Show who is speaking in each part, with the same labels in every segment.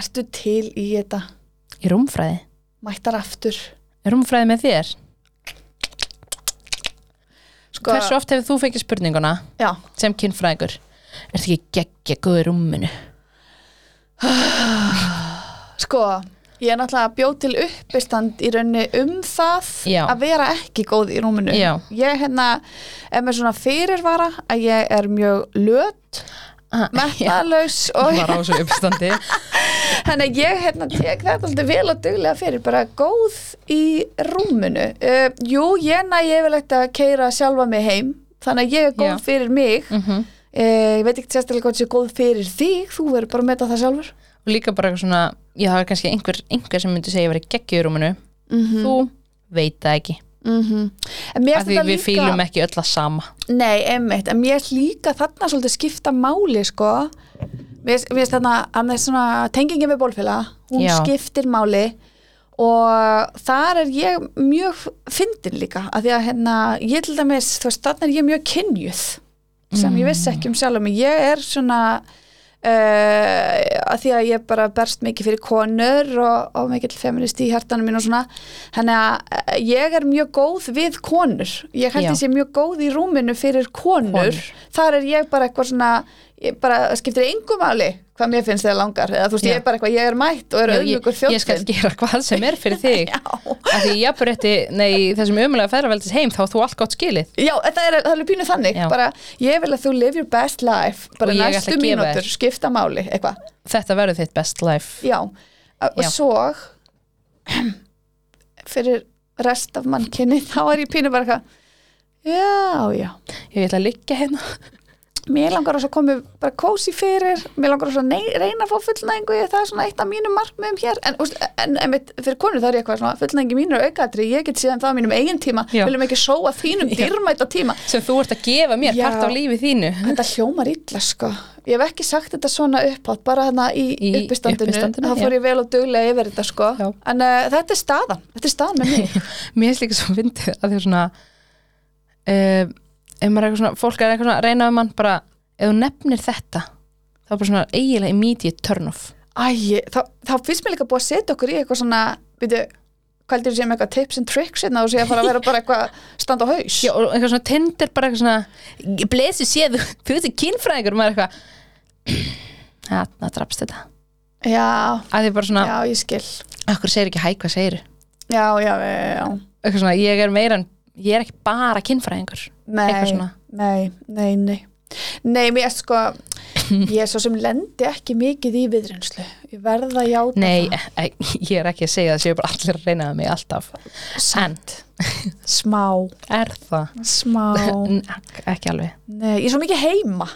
Speaker 1: ertu til í þetta,
Speaker 2: Í rúmfræði?
Speaker 1: mættar aftur
Speaker 2: Rúmfræði með þér?
Speaker 1: sko,
Speaker 2: Hversu oft hefur þú fengið spurninguna
Speaker 1: já,
Speaker 2: sem kynfræðingur? Er þetta ekki geggja góð í rúminu?
Speaker 1: sko ég er náttúrulega bjóð til uppistand í raunni um það
Speaker 2: Já.
Speaker 1: að vera ekki góð í rúminu
Speaker 2: Já.
Speaker 1: ég hérna, er með svona fyrirvara að ég er mjög löt
Speaker 2: Ah, já,
Speaker 1: metnalaus
Speaker 2: Ég
Speaker 1: og
Speaker 2: var á þessu uppstandi
Speaker 1: Þannig að ég hérna tek þetta alltaf vel og duglega fyrir, bara góð í rúminu. Uh, jú, ég næ yfirlegt að keira sjálfa mig heim, þannig að ég er góð
Speaker 2: Já.
Speaker 1: fyrir mig.
Speaker 2: mm
Speaker 1: Uh, ég veit ekki sérstaklega hvort sé góð fyrir þig, þú verður bara að meta það sjálfur.
Speaker 2: og líka bara eitthvað svona já, það er kannski einhver, einhver sem myndi segja að vera geggja í rúminu
Speaker 1: Mm
Speaker 2: þú veit það ekki
Speaker 1: En mér
Speaker 2: af
Speaker 1: finnst
Speaker 2: því við
Speaker 1: þetta líka,
Speaker 2: fýlum ekki öll að sama
Speaker 1: nei, einmitt, en mér finnst líka þarna svolítið skipta máli, sko. Mér finnst- mér finnst þarna, hann er svona tengingin við bólfélaga, hún
Speaker 2: Já.
Speaker 1: skiptir máli og þar er ég mjög fyndin líka, af því að hérna, ég til dæmis, þú veist, þarna er ég mjög kynjuð sem
Speaker 2: Mm.
Speaker 1: ég vissi ekki um sjálf mig. ég er svona uh, að því að ég bara berst mikið fyrir konur og, og mikill feminist í hjartanum mín og svona þannig að eh, ég er mjög góð við konur ég held
Speaker 2: Já.
Speaker 1: ég sé mjög góð í rúminu fyrir konur,
Speaker 2: Konur.
Speaker 1: þar er ég bara eitthvað svona ég bara það skiptir engum áli hvað mér finnst þegar langar eða þú veist
Speaker 2: Já.
Speaker 1: ég er bara eitthvað, ég er mætt og er
Speaker 2: Já, ég,
Speaker 1: auðvöggur
Speaker 2: ég skal
Speaker 1: þjóttin
Speaker 2: gera hvað sem er fyrir þig
Speaker 1: Já.
Speaker 2: af því ég bara rétti, nei, í þessum umlega ferðarveldis heim þá átt þú allt gott skilið
Speaker 1: Já, það er, það er pínu þannig,
Speaker 2: Já.
Speaker 1: bara ég vil að þú live your best life, bara
Speaker 2: Og ég ætla
Speaker 1: næstu
Speaker 2: að gefa
Speaker 1: mínútur, skipta máli, eitthvað.
Speaker 2: þetta verður þitt best life
Speaker 1: Já, og
Speaker 2: Já.
Speaker 1: svo fyrir rest af mannkinni þá er ég pínu bara eitthvað já, já,
Speaker 2: ég ætla að liggja hérna
Speaker 1: mér langar að koma bara kósi fyrir, mér langar að nei, reyna að fá fullnæðingu, ég, það er svona eitt af mínum markmiðum hér, en, úst, en, en fyrir konur þá er ég eitthvað svona, fullnæðingi mínur aukaðri ég get síðan það á mínum eigin tíma,
Speaker 2: Já.
Speaker 1: viljum ekki sóa þínum dýrmæta tíma
Speaker 2: sem þú ert að gefa mér
Speaker 1: Já.
Speaker 2: part á lífi þínu
Speaker 1: Þetta hljómar illa sko. Ég hef ekki sagt þetta svona upphátt, bara hérna í,
Speaker 2: Í
Speaker 1: uppistandinu,
Speaker 2: uppistandinu,
Speaker 1: þá fór ég vel og duglega yfir þetta sko.
Speaker 2: Já.
Speaker 1: En uh, þetta er staðan, þetta er staðan með mig.
Speaker 2: mér finnst líka svo fyndið að því er svona uh, ef maður er eitthvað svona, fólk er eitthvað svona að reyna um mann bara, ef þú nefnir þetta þá er bara svona eiginlega immediate turn off
Speaker 1: Æ, ég- þá, þá finnst mér líka búið að setja okkur í eitthvað svona, veitu, hvað heldur þú sem eitthvað tips and tricks hérna og sé að fara að vera bara eitthvað stand á haus?
Speaker 2: Já, og eitthvað svona Tinder bara eitthvað svona blessu séð, þú veist ekki kynfræðingur og maður er eitthvað þarna drapst þetta
Speaker 1: já,
Speaker 2: að því bara svona,
Speaker 1: já, ég skil.
Speaker 2: okkur segir ekki hæ, hvað segir
Speaker 1: Já, já, já, já.
Speaker 2: eitthvað svona, ég er meira en ég er ekki bara kynfræðingur Eitthvað
Speaker 1: Nei,
Speaker 2: svona.
Speaker 1: nei, nei, nei. Nei, mér sko, ég er svo sem lendi ekki mikið í viðreynslu. Ég verða að játa
Speaker 2: nei,
Speaker 1: það.
Speaker 2: e, e, ég er ekki að segja það séu bara allir að reynaða mig alltaf en,
Speaker 1: Smá.
Speaker 2: er það
Speaker 1: Smá,
Speaker 2: N- ekki alveg
Speaker 1: nei, ég er svo mikið heima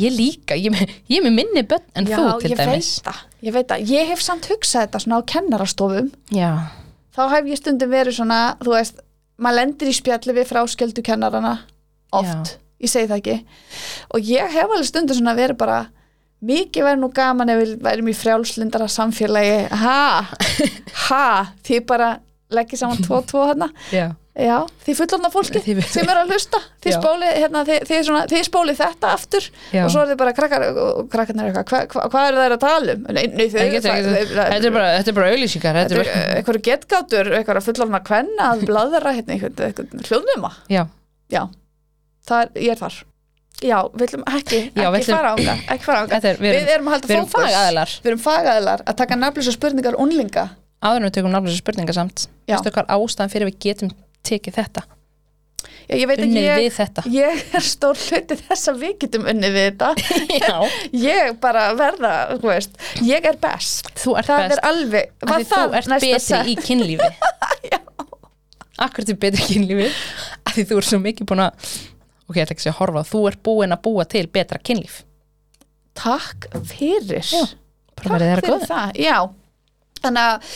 Speaker 2: Ég líka, ég, ég er með minni börn en
Speaker 1: Já,
Speaker 2: þú til
Speaker 1: ég
Speaker 2: dæmis.
Speaker 1: veit það, ég veit það Ég hef samt hugsað þetta svona á kennarastofum
Speaker 2: Já,
Speaker 1: Þá hef ég stundum verið svona, þú veist maður lendir í spjalli við fráskjöldu kennarana oft, ég segi það ekki og ég hef alveg stundum svona verið bara mikið verið nú gaman ef við værum í frjálslindara samfélagi ha, ha því bara leggið saman tvo og tvo hana
Speaker 2: já.
Speaker 1: Já, því fullorna fólki
Speaker 2: Þið-
Speaker 1: sem eru að hlusta, þið
Speaker 2: Já.
Speaker 1: spólið hérna, þið, þið, svona, þið spólið þetta aftur
Speaker 2: Já.
Speaker 1: og svo er þið bara krakkar og krakkarnir eru eitthvað, hva, hva, hvað eru þær að tala um? Nei, nei, þau
Speaker 2: Það getur ekki, þetta er bara, þetta er bara auðlýsingar, þetta er bara,
Speaker 1: eitthvað getgátur, eitthvað fullorna kvenna að bladra hérna, eitthvað, eitthvað hljóðnuma
Speaker 2: já,
Speaker 1: Já, það er, ég er þar Já, við ætlum ekki,
Speaker 2: Já, við
Speaker 1: ekki
Speaker 2: ætlum-
Speaker 1: fara ánga, ekki fara ánga
Speaker 2: þetta er, við erum,
Speaker 1: erum að halda
Speaker 2: við erum
Speaker 1: fókus
Speaker 2: fagaðilar.
Speaker 1: Við erum fagaðilar að taka nafnlösa spurningar unlinga
Speaker 2: Áður en við tökum náttúrulega spurningar samt.
Speaker 1: Já.
Speaker 2: Veistu hvað er ástæðan fyrir við getum tekið þetta,
Speaker 1: Já, ég veit ekki,
Speaker 2: unnið
Speaker 1: ég,
Speaker 2: við þetta.
Speaker 1: ég er stór hluti þess að við getum unnið við þetta
Speaker 2: Já,
Speaker 1: ég bara verða, þú veist ég er best,
Speaker 2: þú ert
Speaker 1: það
Speaker 2: best,
Speaker 1: er alveg
Speaker 2: af því þú ert betri
Speaker 1: set?
Speaker 2: í kynlífi. Akkur til betri í kynlífi, af því þú ert svo mikið búin að, ok, ég ætla ekki að segja horfa, þú ert búin að búa til betra kynlíf.
Speaker 1: takk fyrir
Speaker 2: Já, Bara verið þeirra góð.
Speaker 1: það, já Þannig að,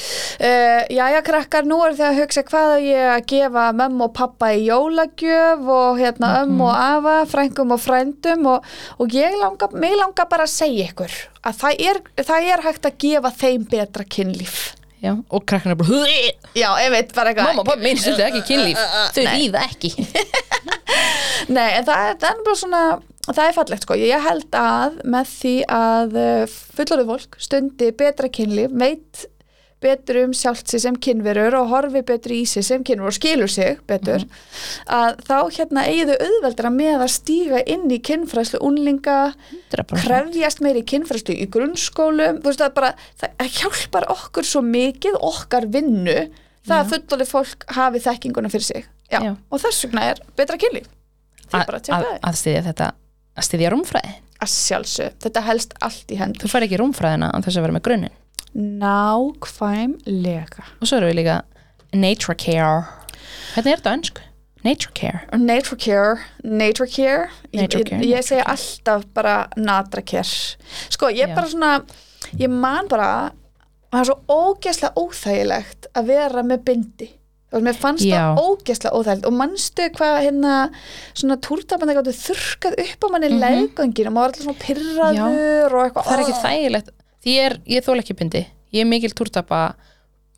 Speaker 1: uh, jæja krakkar, nú eru þið að hugsa hvað á ég að gefa mömmu og pappa í jólagjöf og hérna
Speaker 2: Mhm.
Speaker 1: ömmu og afa, frængum og frændum og, og ég langa, mig langar bara að segja ykkur að það er, það er hægt að gefa þeim betra kynlíf.
Speaker 2: Já, og krakkana bara, "Hú,
Speaker 1: Já, ég veit bara eitthvað.
Speaker 2: Mamma og pappi minn stundu ekki kynlíf Þau líða ekki
Speaker 1: Nei, en það er, það er bara svona það er fallegt sko, ég held að með því að fullorðu fólk stundi betra kynlíf, veit betur um sjálft sig sem kynverur og horfi betur í sig sem kynverur og skilur sig betur, að þá hérna eigið þau auðveldra með að stíga inn í kynfræslu unlinga
Speaker 2: Mhm.
Speaker 1: krefjast meiri kynfræslu í grunnskólum, þú veist það bara það hjálpar okkur svo mikið okkar vinnu það að fullorðu fólk hafi þekkinguna fyrir sig Já.
Speaker 2: Já.
Speaker 1: og þess vegna er betra kynlíf Því
Speaker 2: að,
Speaker 1: bara að
Speaker 2: að,
Speaker 1: tjekka
Speaker 2: að styðja þetta að styðja rúmfræði,
Speaker 1: að sjálfsög, þetta helst allt í hendur
Speaker 2: þú fær ekki rúmfræðina án þess að vera með grunninn
Speaker 1: nákvæmlega
Speaker 2: og svo eru við líka nature care hvernig er þetta á ennsku? nature care
Speaker 1: nature care, nature care
Speaker 2: Nature
Speaker 1: ég, ég,
Speaker 2: care, nature
Speaker 1: ég segja alltaf bara natra care sko, ég
Speaker 2: Já.
Speaker 1: bara svona ég man bara það er svo ógeðslega óþægilegt að vera með bindi og mér fannst
Speaker 2: Já.
Speaker 1: það ógeðslega óþægilegt og manstu hvað hérna svona túrtapandi gáttu þurrkað upp á manni mm
Speaker 2: Mhm.
Speaker 1: leggöngin og maður var alltaf svona pyrraður og eitthvað
Speaker 2: það er ekki
Speaker 1: "Oh."
Speaker 2: þægilegt því ég er, ég þól ekki bindi ég er mikil túrtapa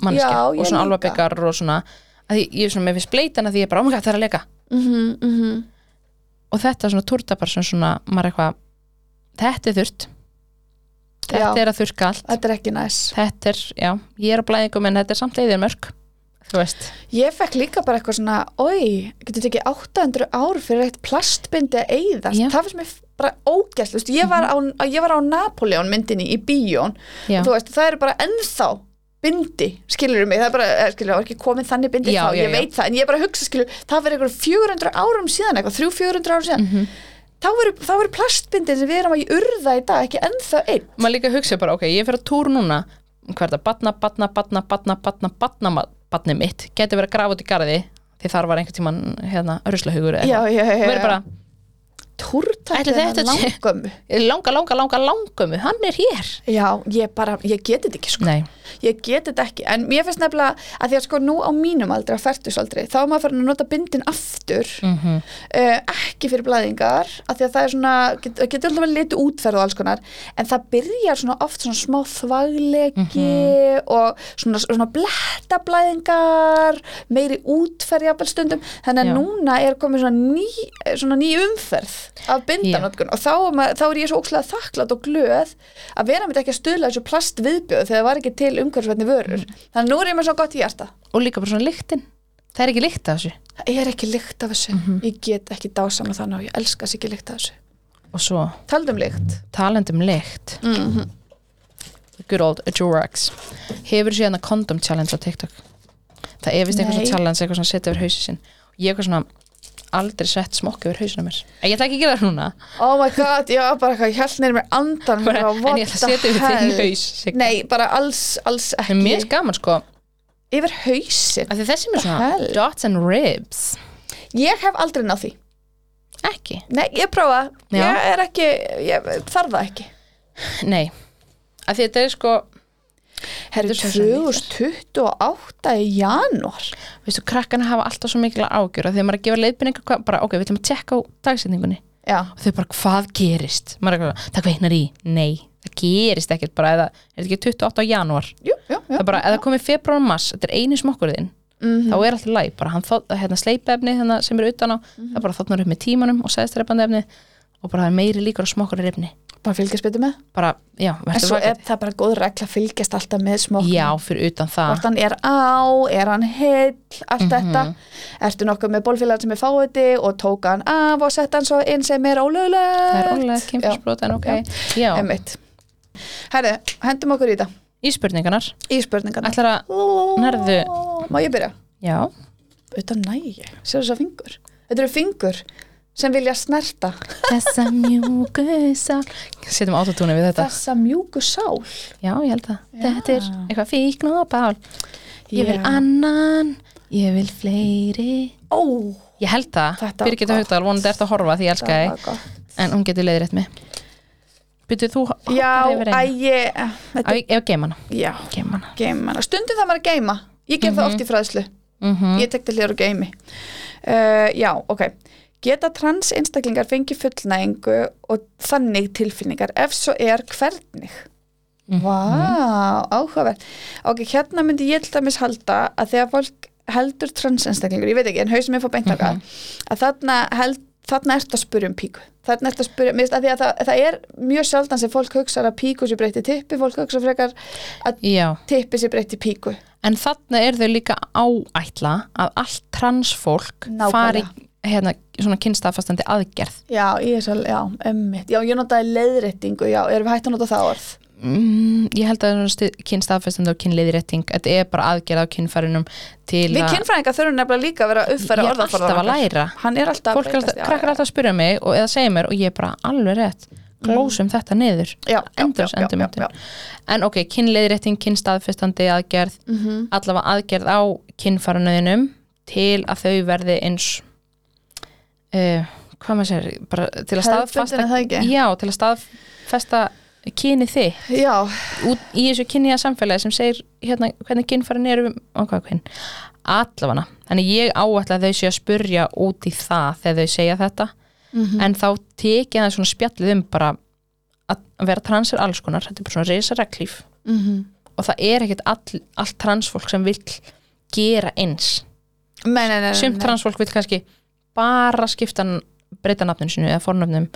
Speaker 2: mannskja
Speaker 1: Já, ég
Speaker 2: og
Speaker 1: líka.
Speaker 2: svona alvabekar og svona að ég, ég er svona með fyrst bleitan að því ég er bara ámega það er að leika
Speaker 1: Mhm, mhm.
Speaker 2: og þetta er svona túrtapar sem svona maður eitthvað þetta er þurrt þetta
Speaker 1: Já.
Speaker 2: er að þurrka allt
Speaker 1: þetta er ekki næs
Speaker 2: þetta er, já, ég er á blæðingum en þetta er samt leiðir mörg þú veist,
Speaker 1: Ég fekk líka bara eitthvað svona Oi, getur þetta ekki 800 ár fyrir eitt plastbindi að eyðast
Speaker 2: Já. Mhm.
Speaker 1: Það finnst mér bara ógæst veist, ég, var á, ég var á Napoleon myndinni í bíón
Speaker 2: já,
Speaker 1: Þú veist, það eru bara ennþá bindi, skilur mig það er bara, eh, skilur, það var ekki komið þannig bindi þá,
Speaker 2: Já, já,
Speaker 1: ég
Speaker 2: já.
Speaker 1: veit það, en ég bara hugsa skilur, það verður eitthvað 400 árum síðan eitthvað, 300-400 árum síðan
Speaker 2: Mhm.
Speaker 1: þá verður- þá verður plastbindin sem við erum að urða í dag ekki ennþá einn
Speaker 2: maður líka hugsa bara, ok, ég fer að túr núna hvað er það, batna, batna, batna, batna, batna, batna, batni mitt, geti verið að grafa út í garði því þar var einhvern tíman hérna, ruslahugur eða
Speaker 1: Já, já, já,
Speaker 2: eitthvað.
Speaker 1: já,
Speaker 2: verið bara, Ætli
Speaker 1: Túrtækið
Speaker 2: þetta
Speaker 1: hennar
Speaker 2: sé-
Speaker 1: langömmu
Speaker 2: langa, langa, langa, langumu hann er hér
Speaker 1: Já, ég bara, ég geti þetta ekki sko
Speaker 2: Nei,
Speaker 1: ég get þetta ekki, en mér finnst nefnilega að því að sko nú á mínum aldri, á færtusaldri þá er maður farin að nota bindin aftur
Speaker 2: mm
Speaker 1: uh, ekki fyrir blæðingar af því að það er svona, get, það getur alltaf að litu útferð og alls konar, en það byrjar svona oft svona smá þvaglegi og svona, svona blettablæðingar meiri útferð jafnvel stundum, þannig að
Speaker 2: Já.
Speaker 1: núna er komið svona ný, svona ný umferð af bindanótkun og þá er, maður, þá er ég svo ókslega þakklátt og glöð að vera með ekki að stuðla þessu plastviðbjöð þegar það var ekki til umhverfisvætni vörur þannig að nú er ég með svo gott í hjarta
Speaker 2: og líka bara svona lyktin það er ekki lykt af þessu
Speaker 1: það er ekki lykt af þessu, ég get ekki dásama þannig og ég elska sér ekki lykt af þessu
Speaker 2: og svo
Speaker 1: Taldum lykt.
Speaker 2: talandi um lykt mm -hmm. good old Durex hefur síðan að condom challenge á TikTok það er vist einhver
Speaker 1: Nei.
Speaker 2: svona challenge eitthvað svona setja yfir hausinn sinn og ég eitthvað svona aldrei sett smokk yfir hausinn á mér en ég ætla ekki að gera það núna
Speaker 1: Oh my god, já, bara eitthvað, ég held neyrir mér andan
Speaker 2: bara,
Speaker 1: bara,
Speaker 2: en ég ætla að setja yfir þinn haus Sigga.
Speaker 1: Nei, bara alls, alls
Speaker 2: en mér er
Speaker 1: ekki.
Speaker 2: gaman sko
Speaker 1: Yfir hausin.
Speaker 2: að þessi mér svona
Speaker 1: Hell.
Speaker 2: dots and ribs
Speaker 1: Ég hef aldrei náð því.
Speaker 2: ekki
Speaker 1: Nei, ég prófa.
Speaker 2: Já.
Speaker 1: Ég er ekki, ég þarf það ekki.
Speaker 2: nei að því þetta er sko
Speaker 1: Herri,
Speaker 2: Þetta er svo sem
Speaker 1: 2028 í janúar.
Speaker 2: veistu, krakkana hafa alltaf svo mikil ágjur að þegar maður er að gefa leiðbyrningu, hvað- bara, ok, við ætlum að tjekka á dagsetningunni
Speaker 1: Já,
Speaker 2: og þau bara, hvað gerist? Maður er eitthvað, svona, það kveiknar í, nei, það gerist ekkert bara, eða, er þetta ekki 28. janúar
Speaker 1: jú, jú, jú.
Speaker 2: það er bara, eða komið februar og mars, þetta er einu smokkurðin
Speaker 1: Mhm.
Speaker 2: þá er alltaf læg, bara hann þótt, hérna sleipefni hérna, sem er utan á, það bara þóttnar upp með tímanum og sæðist efni og bara það er meiri líkur á smokkurðir efni
Speaker 1: Bara fylgjast betur með.
Speaker 2: bara, já,
Speaker 1: En
Speaker 2: verður
Speaker 1: svo er
Speaker 2: vakandi
Speaker 1: það bara góð regla að fylgjast alltaf með smokk.
Speaker 2: já, fyrir utan það,
Speaker 1: hvort hann er á, er hann heill, allt
Speaker 2: Mhm.
Speaker 1: þetta ertu nokkuð með bólfélagar sem er fáiði og tóka hann af og setta hann svo inn sem er ólöglegt
Speaker 2: það er ólega kemfisbrot en ok, já,
Speaker 1: Já, einmitt Herðu, hendum okkur í þetta,
Speaker 2: í spurningarnar
Speaker 1: í spurningarna
Speaker 2: ætlar að, nærðu-
Speaker 1: Má ég byrja?
Speaker 2: já,
Speaker 1: Utan nægi, séu þess að fingur Þetta eru fingur sem vilja snerta
Speaker 2: Þessa mjúku sál Setjum autotúni við þetta
Speaker 1: þessa mjúku sál
Speaker 2: Já, ég held það Þetta er eitthvað fíkn og bál Ég vil
Speaker 1: Já.
Speaker 2: annan, ég vil fleiri
Speaker 1: Ó,
Speaker 2: Ég held það,
Speaker 1: Þetta var
Speaker 2: Birgitta
Speaker 1: gott.
Speaker 2: Haugdal vonandi ert að horfa því ég elska
Speaker 1: það var
Speaker 2: þig
Speaker 1: gott
Speaker 2: En hún getur leiðrétt mig Byttu þú hoppar
Speaker 1: Já,
Speaker 2: yfir
Speaker 1: að
Speaker 2: einu
Speaker 1: ég þetta,
Speaker 2: Á, ég- Ég geim hana,
Speaker 1: Já,
Speaker 2: geim hana.
Speaker 1: geima hana. Stundum það maður að geima Ég ger
Speaker 2: Mhm.
Speaker 1: það oft í fræðslu
Speaker 2: Mm
Speaker 1: ég tek til hér og geimi uh, já, ok geta trans einstaklingar fengið fullnægingu og þannig tilfinningar ef svo er hvernig Vá, áhugaverð ok, hérna myndi ég til dæmis halda að þegar fólk heldur trans einstaklingur, ég veit ekki, en hausum ég fór beint þangað að þarna held þarna ertu að spyrja um píku þarna ertu að spyrja, mér finnst að því að það, það er mjög sjaldan sem fólk hugsar að píku sér breytti tippi, fólk hugsar frekar að
Speaker 2: já,
Speaker 1: tippi sér breytti píku
Speaker 2: en þarna er þau líka áætla að allt transfólk
Speaker 1: Nákvæmlega.
Speaker 2: fari hérna, svona kynstaðfastandi aðgerð
Speaker 1: já, ég er svo, já, emmitt já, ég notaði leiðréttingu, já, erum við hægt að nota það orð
Speaker 2: mm, ég held að það er kynstaðfastandi og kynleiðrétting þetta er bara aðgerð á kynfærinum til
Speaker 1: við
Speaker 2: að
Speaker 1: kynfræðinga þurfum nefnilega líka að vera að uppfæra
Speaker 2: ég er
Speaker 1: orðaforða
Speaker 2: alltaf að
Speaker 1: okkar.
Speaker 2: læra
Speaker 1: hann er alltaf
Speaker 2: fólk er alltaf, krakkar er alltaf að spyrja mig og, eða segja mér og ég er bara alveg rétt glósum þetta niður
Speaker 1: já, já,
Speaker 2: endurs
Speaker 1: já, já,
Speaker 2: endurmyndun.
Speaker 1: já,
Speaker 2: en ok, kynleiðrétting, kynstaðfestandi aðgerð
Speaker 1: Mhm.
Speaker 2: allavega aðgerð á kynfæranöðinum til að þau verði eins uh, hvað maður sér bara til
Speaker 1: Hefðbundin,
Speaker 2: að staðfesta
Speaker 1: er það ekki?
Speaker 2: já, til að staðfesta kyni þið
Speaker 1: já, já,
Speaker 2: út í þessu kynja samfélagi sem segir hérna hvernig kynfæran eru og hvað hvern allavega, þannig ég áætla að þau séu að spurja út í það þegar þau segja þetta
Speaker 1: Mhm.
Speaker 2: en þá tekið það svona spjallið um bara að vera trans er alls konar þetta er bara svona reysa reglíf
Speaker 1: mhm.
Speaker 2: og það er ekkert all, allt transfólk sem vill gera eins
Speaker 1: Nei, nei, nei, nei,
Speaker 2: sumt
Speaker 1: nei.
Speaker 2: transfólk vill kannski bara skipta n- breyta nafninu sinu eða fornöfnum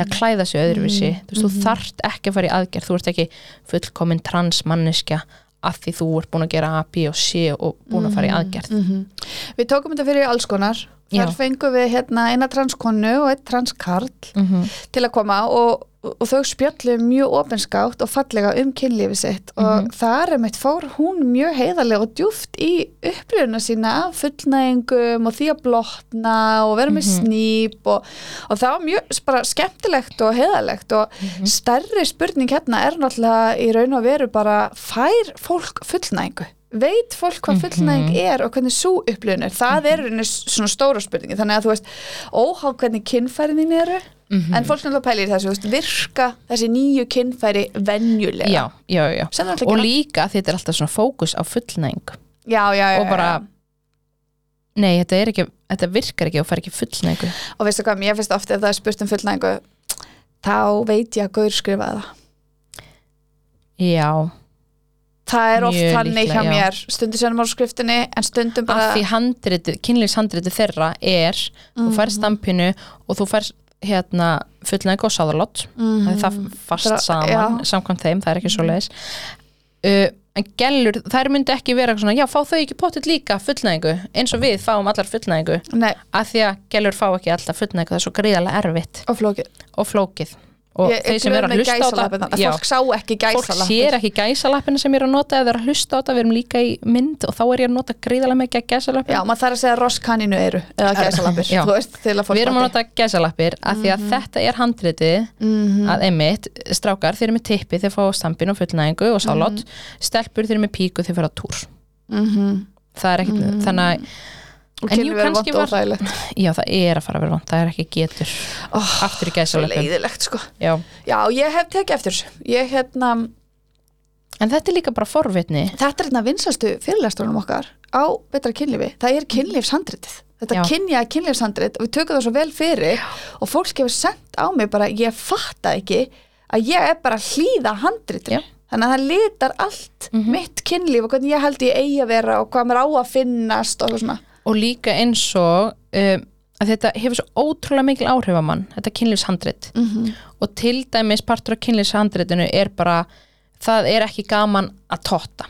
Speaker 2: eða klæða sig öðruvísi þú, veist, þú þarft ekki að fara í aðgerð þú ert ekki fullkomin transmanneskja af því þú ert búin að gera A, B og C og búin að fara í aðgerð
Speaker 1: Mhm. Við tókum þetta fyrir í alls konar Þar
Speaker 2: Já.
Speaker 1: fengum við hérna eina transkonu og einn transkarl
Speaker 2: mm -hmm.
Speaker 1: til að koma og, og þau spjallu mjög opinskátt og fallega um kynlífi sitt og þar er mitt fór hún mjög heiðarlega og djúft í upplifuna sína af fullnæðingum og því að blotna og vera með snýp og, og það var mjög s- bara skemmtilegt og heiðarlegt og stærri spurning hérna er náttúrulega í raun og veru bara fær fólk fullnæðingu? veit fólk hvað fullnæðing er og hvernig svo upplifun er, það er einu svona stóra spurningi, þannig að þú veist óhá hvernig kynfærin þín eru
Speaker 2: Mhm.
Speaker 1: en fólk náttúrulega pælir í þessu, þú veist, virka þessi nýju kynfæri venjulega
Speaker 2: já, já, já, já.
Speaker 1: Sem það
Speaker 2: og
Speaker 1: náttúrulega
Speaker 2: líka því þetta er alltaf svona fókus á fullnæðing
Speaker 1: gera- já, já, já,
Speaker 2: og bara
Speaker 1: já.
Speaker 2: nei, þetta, er ekki, þetta virkar ekki og fær ekki fullnæðingu
Speaker 1: og veistu hvað, mér finnst ofta ef það er spurt um fullnæðingu þá veit ég að gaur skrifaði það
Speaker 2: já,
Speaker 1: það er oft
Speaker 2: Mjög
Speaker 1: þannig
Speaker 2: líklega,
Speaker 1: hjá
Speaker 2: já.
Speaker 1: mér stundum sem á skriftinni, en stundum bara
Speaker 2: af því handritu, kynlífshandritu þeirra er, þú
Speaker 1: Mhm.
Speaker 2: fær stampinu og þú fær hérna fullnæg og sáðalott,
Speaker 1: Mhm.
Speaker 2: mm -hmm. það er fast
Speaker 1: Dra-
Speaker 2: saman,
Speaker 1: já. Mhm.
Speaker 2: samkvæmt þeim það er ekki svo leiðis uh, en gellur, þær myndu ekki vera svona, já, fá þau ekki pottit líka fullnæðingu eins og við fáum allar fullnæðingu
Speaker 1: nei,
Speaker 2: af því að gellur fá ekki alltaf fullnæðingu það er svo gríðarlega erfitt
Speaker 1: og flókið
Speaker 2: og flókið og
Speaker 1: Ég- ég
Speaker 2: þeir sem
Speaker 1: glöð
Speaker 2: eru að
Speaker 1: með
Speaker 2: hlusta á
Speaker 1: gæsalappirnar,
Speaker 2: þetta
Speaker 1: að
Speaker 2: já,
Speaker 1: fólk sá ekki
Speaker 2: fólk
Speaker 1: gæsalappir
Speaker 2: sér ekki gæsalappina sem ég er að nota eða þeir eru að hlusta á þetta, við erum líka í mynd og þá er ég að nota gríðarlega mikið gæsalappina
Speaker 1: já, maður þarf að segja rosskaninu eru eða gæsalappir,
Speaker 2: Já.
Speaker 1: þú veist, til að fólk
Speaker 2: við erum að
Speaker 1: mati.
Speaker 2: nota gæsalappir af því að
Speaker 1: Mhm.
Speaker 2: þetta er handritið að emitt, strákar þeir eru með tippi þeir fá stampin og fullnæðingu og sálott stelpur þeir eru með píku þeir fara á túr
Speaker 1: Mhm.
Speaker 2: það er ekkit, þannig að
Speaker 1: og
Speaker 2: En
Speaker 1: kynlíf
Speaker 2: jú,
Speaker 1: verður
Speaker 2: kannski
Speaker 1: vont og
Speaker 2: var-
Speaker 1: óþægilegt
Speaker 2: já, það er að fara að vera vant, það er ekki getur
Speaker 1: oh,
Speaker 2: aftur í
Speaker 1: svo
Speaker 2: gæsalappin
Speaker 1: leiðilegt sko
Speaker 2: já.
Speaker 1: Já, ég hef tekið eftir þessu. Ég hérna,
Speaker 2: en þetta er líka bara forvitni
Speaker 1: þetta er hérna vinsalstu fyrirlesturunum okkar á betra kynlífi. Það er kynlífshandritið. Þetta
Speaker 2: Já.
Speaker 1: kynja kynlífshandrit og við tökum það svo vel fyrir og fólk hefur sendt á mig bara, ég fatta ekki að ég er bara að hlýða handritinu.
Speaker 2: Já. Mhm.
Speaker 1: Þannig að það litar allt mitt kynlíf og hvernig ég held ég eigi að vera og hvað mér á að finnast og eitthvað svona.
Speaker 2: og líka eins og um, að þetta hefur svo ótrúlega mikil áhrif á mann þetta kynlífshandrit
Speaker 1: Mhm.
Speaker 2: og til dæmis partur af kynlífshandritinu er bara, það er ekki gaman að totta,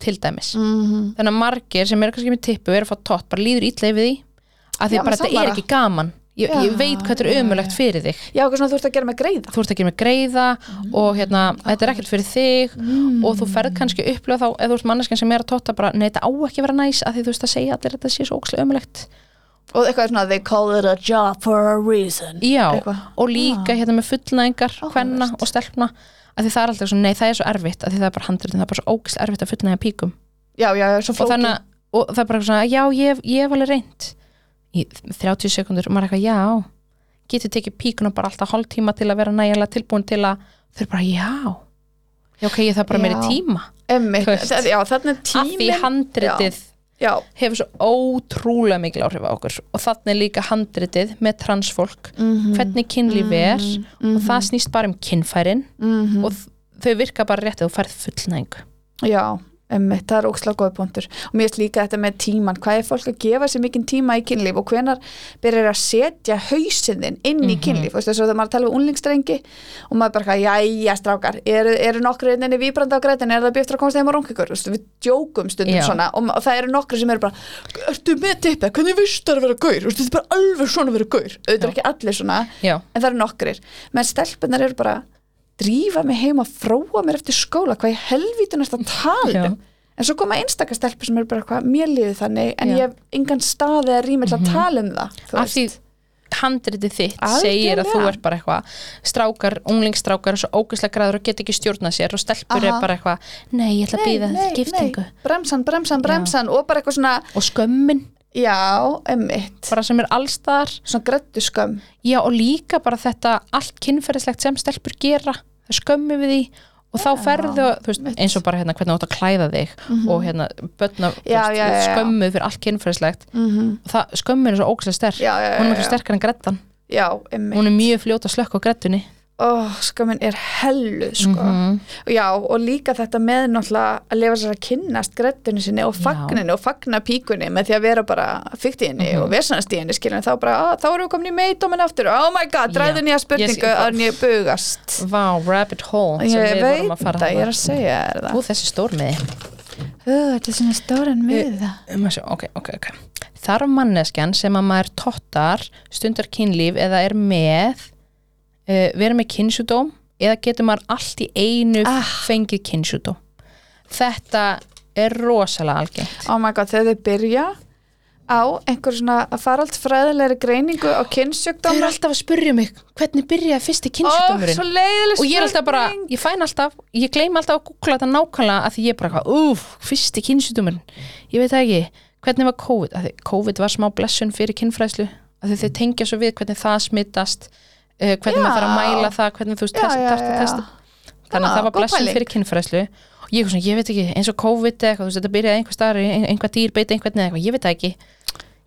Speaker 2: til dæmis
Speaker 1: -hmm.
Speaker 2: þannig að margir sem eru kannski með tippu eru að fá tótt, bara líður ítla yfir því að því
Speaker 1: Já,
Speaker 2: bara
Speaker 1: með
Speaker 2: þetta er
Speaker 1: samvara.
Speaker 2: ekki gaman ég,
Speaker 1: Já,
Speaker 2: ég veit hvað þetta
Speaker 1: já,
Speaker 2: er ömulegt fyrir þig
Speaker 1: Já, eitthvað svona þú ert að gera með greiða.
Speaker 2: þú ert að gera með greiða og hérna, þetta er ekkert fyrir þig og þú ferð kannski upplöð þá eða þú ert manneskinn sem er að tóta bara, nei þetta á ekki að vera næs að því þú veist að segja allir að þetta sé svo ókslega ömulegt
Speaker 1: Og eitthvað svona, they call it a job for a reason.
Speaker 2: já,
Speaker 1: Eitthvað.
Speaker 2: og líka hérna með fullnæðingar
Speaker 1: Áhugavert.
Speaker 2: hvenna og stelpna að því það er alltaf svo, nei það er svo erfitt að því það er bara handritin, það er bara svo ókslega erfitt að fullnæða píkum
Speaker 1: Já, já, já, svo
Speaker 2: og
Speaker 1: flókið.
Speaker 2: þannig að og það er bara svona, já, ég, hef- ég hef alveg reynd í 30 sekundur og maður er eitthvað, já getur tekið píkuna bara alltaf hálftíma til að vera nægilega tilbúin til að þau eru bara, já já, ok, ég þarf bara
Speaker 1: Já.
Speaker 2: meiri tíma
Speaker 1: Einmitt,
Speaker 2: Þú veist.
Speaker 1: það- já, þarna er
Speaker 2: af því
Speaker 1: tíminn
Speaker 2: handritið
Speaker 1: já,
Speaker 2: hefur svo ótrúlega mikil áhrif á okkur og þannig er líka handritið með transfólk
Speaker 1: Mm.
Speaker 2: hvernig kynlífi er og það snýst bara um kynfærin
Speaker 1: Mm-hmm. mm
Speaker 2: og þ- þau virka bara rétt að þú færð fullnæðingu
Speaker 1: já, Einmitt, það er ókslega góð punktur og mér finnst líka þetta með tíman, hvað er fólk að gefa sér mikinn tíma í kynlíf og hvenar byrjar að setja hausinn þinn inn
Speaker 2: Mhm.
Speaker 1: í kynlíf mm -hmm. þess að maður tala um unlingstrengi og maður bara, eitthvað, jæja strákar eru, eru hérna nokkru inninni víbrandi á grætin er það bjöftur að komast heim á rungikur, við djókum stundum
Speaker 2: Já.
Speaker 1: svona og, ma- og það eru nokkru sem eru bara ertu með tippið, hvernig vist það að vera gaur Þú veist, þetta er bara alveg svona að vera gaur auðvitað er
Speaker 2: Já.
Speaker 1: ekki allir svona,
Speaker 2: já,
Speaker 1: en það eru nokkrir menn stelpunar eru bara drífa mig heim að fróa mér eftir skóla hvað ég helvítun er að tala um en svo koma einstakar stelpur sem eru bara hvað mér liði þannig en
Speaker 2: Já. Mhm.
Speaker 1: ég hef engan staði að rýma til að tala um það þú
Speaker 2: af því
Speaker 1: veist.
Speaker 2: handritið þitt
Speaker 1: Algjörlega.
Speaker 2: segir að þú er bara eitthvað strákar, unglingstrákar er svo ógæslega græður og get ekki stjórnað sér og stelpur
Speaker 1: Aha.
Speaker 2: er bara eitthvað nei, ég ætla að býða þetta giftingu
Speaker 1: bremsan, bremsan, bremsan og bara eitthvað svona,
Speaker 2: og skömmin,
Speaker 1: já, emmitt
Speaker 2: bara sem er allstaðar
Speaker 1: svona grættu skömm
Speaker 2: já og líka bara þetta allt kynferðislegt sem stelpur gera það er skömmi við því og þá ferðu, þú veist,
Speaker 1: mitt.
Speaker 2: eins og bara hérna hvernig þú átt að klæða þig og hérna börna
Speaker 1: Mhm. Já, já, já, já.
Speaker 2: skömmu fyrir allt kynferðislegt
Speaker 1: mm
Speaker 2: það, skömmin er svo ógæslega sterk
Speaker 1: já, já,
Speaker 2: hún
Speaker 1: já,
Speaker 2: er miklu
Speaker 1: já,
Speaker 2: sterkar en grettan
Speaker 1: já, emmitt
Speaker 2: hún er mjög fljóta slökk á grettunni
Speaker 1: ó, skömmin er hellu sko.
Speaker 2: Mhm.
Speaker 1: já, og líka þetta með náttúrulega að lifa sér að kynnast grættinu sinni og fagninu og fagna píkunni með því að vera bara fyrkt í henni
Speaker 2: Mhm.
Speaker 1: og vesanast í henni skilin þá bara, "Ah, þá erum við komin í meitdómin aftur oh my god,
Speaker 2: Já.
Speaker 1: dræðin ég að
Speaker 2: Ég
Speaker 1: spurningu
Speaker 2: sé-
Speaker 1: að ég bugast
Speaker 2: Vá, rabbit hole sem
Speaker 1: Ég
Speaker 2: við vorum
Speaker 1: veit
Speaker 2: að fara
Speaker 1: það, ég er
Speaker 2: þarna.
Speaker 1: að segja þér það.
Speaker 2: Ú, þessi stórmiði
Speaker 1: Þetta er svona stóran miða.
Speaker 2: um að sjá, ok, ok, ok Þarf manneskjan sem að maður tóttar stundar kynlíf eða er með uh, vera með kynsjúdóm eða getur maður allt í einu
Speaker 1: Ah.
Speaker 2: fengið kynsjúdóm Þetta er rosalega algengt
Speaker 1: Oh my god, þegar þau byrja á einhver svona faraldsfræðilegri greiningu á
Speaker 2: Þau eru
Speaker 1: kynnsjúkdóma.
Speaker 2: alltaf að spurja mig hvernig byrjaði fyrsti
Speaker 1: Ó,
Speaker 2: kynsjúdómurinn
Speaker 1: svo leiðileg
Speaker 2: og ég er alltaf bara,
Speaker 1: spurning.
Speaker 2: ég fæn alltaf ég gleym alltaf að googla þetta nákvæmlega að því ég er bara, eitthvað, úf, fyrsti kynsjúdómurinn ég veit það ekki, hvernig var COVID að því COVID var smá blessun fyrir kynfræðslu að því þau tengja svo við hvernig það smittast uh, hvernig
Speaker 1: Já.
Speaker 2: maður þarf að mæla það hvernig þú veist,
Speaker 1: Já,
Speaker 2: testa,
Speaker 1: já,
Speaker 2: testa,
Speaker 1: já.
Speaker 2: testa
Speaker 1: Já,
Speaker 2: þannig að það var
Speaker 1: góð
Speaker 2: blessun
Speaker 1: pæling.
Speaker 2: fyrir kynfræðslu og ég, er svona, ég veit ekki, eins og COVID eða eitthvað, þú veist, þetta byrjaði einhver staðar, ein- einhver dýr beita einhvern eða eitthvað, ég veit það ekki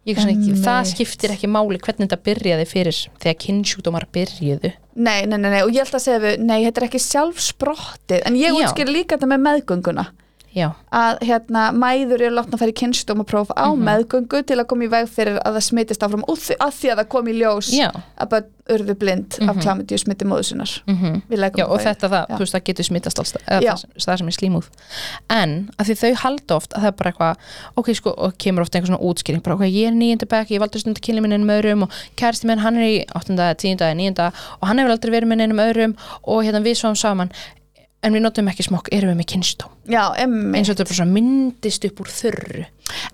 Speaker 2: Ég er svona, ekki, það
Speaker 1: Einmitt.
Speaker 2: skiptir ekki máli hvernig þetta byrjaði fyrir þegar kynnsjúkdómar byrjuðu
Speaker 1: Nei, nei, nei, nei, og ég held að segja við, nei, þetta er ekki sjálfsprottið, en ég
Speaker 2: Já.
Speaker 1: útskýr líka þetta með meðgönguna,
Speaker 2: Já,
Speaker 1: að hérna, mæður eru látna að fara í kynnsjúkdómapróf á
Speaker 2: Mhm.
Speaker 1: meðgöngu til að koma í veg fyrir að það smitist áfram og því- að því að það kom í ljós
Speaker 2: já
Speaker 1: að bara urðu blind af klamundíu smiti móðusinnar.
Speaker 2: mm
Speaker 1: Við legum
Speaker 2: Já,
Speaker 1: það
Speaker 2: og
Speaker 1: í-
Speaker 2: þetta, það,
Speaker 1: Já.
Speaker 2: þú veist, það getur smittast alls
Speaker 1: Já.
Speaker 2: eða það, það sem er slímúð en að því þau halda oft að það er bara eitthvað ok, sko, og kemur oft einhver svona útskýring bara, ok, ég er nýjönda bekk, ég valdur stundar kynli minn einum öðrum og kæristi minn, hann er í 8. 10. 9. og hann hefur aldrei verið minn einum öðrum og hérna við svoðum saman en við notum ekki smokk, erum við með kynstóm
Speaker 1: Já, emmi.
Speaker 2: eins og þetta er bara svona myndist upp úr þurru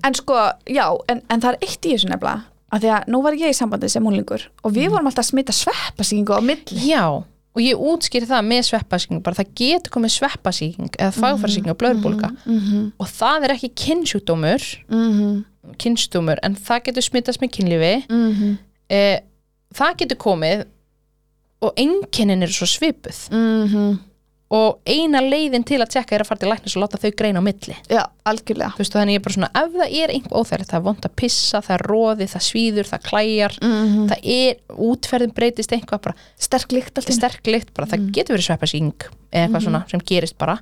Speaker 1: En sko, já, en, en það er eitt í þessu nefnilega að því að nú var ég í sambandi sem úlingur og
Speaker 2: Mhm.
Speaker 1: við vorum alltaf að smita sveppasýkingu á milli
Speaker 2: Já, og ég útskýri það með sveppasíking bara það getur komið sveppasíking eða
Speaker 1: Mhm,
Speaker 2: fagfarsíking og blöðbólga og það er ekki kynnsjúkdómur Mhm. kynnsjúkdómur en það getur smittast með kynlífi e, það getur komið og einkennin eru svo
Speaker 1: Mhm.
Speaker 2: svipuð og eina leiðin til að tekka er að fara til læknis og láta þau greina á milli
Speaker 1: Já, algjörlega
Speaker 2: þú veist og þannig ég er bara svona ef það er einhver óþægilegt það er vond að pissa, það er róði, það svíður, það klæjar
Speaker 1: Mm.
Speaker 2: það er, útferðin breytist einhvað bara
Speaker 1: Sterk líkt alltaf
Speaker 2: sterk lykt bara, það getur verið sveppasíking eða eitthvað svona sem gerist bara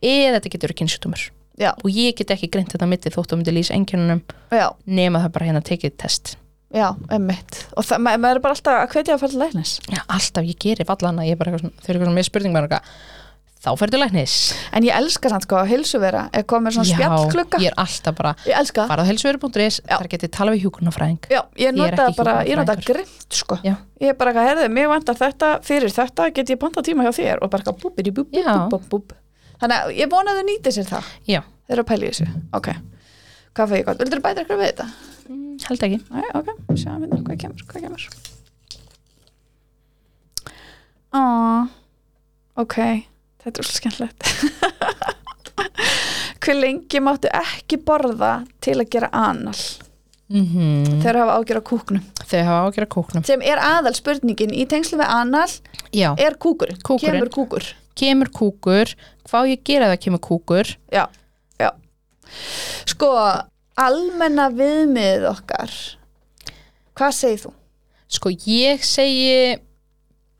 Speaker 2: eða þetta getur verið kynnsjúkdómur
Speaker 1: Já,
Speaker 2: og ég get ekki greint þetta á milli þótt um þetta lýsa einkjörnunum
Speaker 1: já,
Speaker 2: nema það bara hérna tekið test
Speaker 1: já, emmitt og það, ma maður er bara alltaf að hvetja að fara til læknis
Speaker 2: Já, alltaf ég gerir vallana, ég er bara eitthvað svona, þau eru eitthvað svona með spurning með eitthvað, þá ferðu læknis
Speaker 1: En ég elska samt sko að hilsu vera er komið svona spjallklukka
Speaker 2: ég
Speaker 1: Ég,
Speaker 2: er alltaf bara
Speaker 1: elska það
Speaker 2: farað helsuveru.is,
Speaker 1: Já.
Speaker 2: þar getið tala við hjúkunarfræðing
Speaker 1: Já, ég
Speaker 2: er
Speaker 1: nota
Speaker 2: ekki
Speaker 1: bara, ég nota
Speaker 2: hjúkrunarfræðingur.
Speaker 1: grimt sko
Speaker 2: Já.
Speaker 1: Ég er bara eitthvað, herðu, mér vantar þetta fyrir þetta, get ég panta tíma hjá þér og bara eitthvað búbir í búb,
Speaker 2: Já.
Speaker 1: búb, búb, búb Þannig að ég vona að þau nýti sér það
Speaker 2: Já,
Speaker 1: Þeir eru að pæla í þessu, ok Hvað fæði ég gott? Vildur bæta eitthvað við þetta?
Speaker 2: mm, held ekki
Speaker 1: Nei, ok, sjáum við það, hvað kemur, hvað kemur Á, ok Þetta er úr skemmtilegt Hver lengi máttu ekki borða til að gera anal þegar hafa ágjör á kúknum
Speaker 2: Mhm. Þau hafa ágjör að kúknum
Speaker 1: sem er aðal spurningin í tengslu við anal
Speaker 2: Já,
Speaker 1: er kúkurinn,
Speaker 2: Kúkurinn.
Speaker 1: kemur kúkur
Speaker 2: kemur kúkur, hvað á ég að gera ef það kemur kúkur
Speaker 1: já, já sko, almenna viðmið okkar hvað segir þú?
Speaker 2: Sko ég eh, segi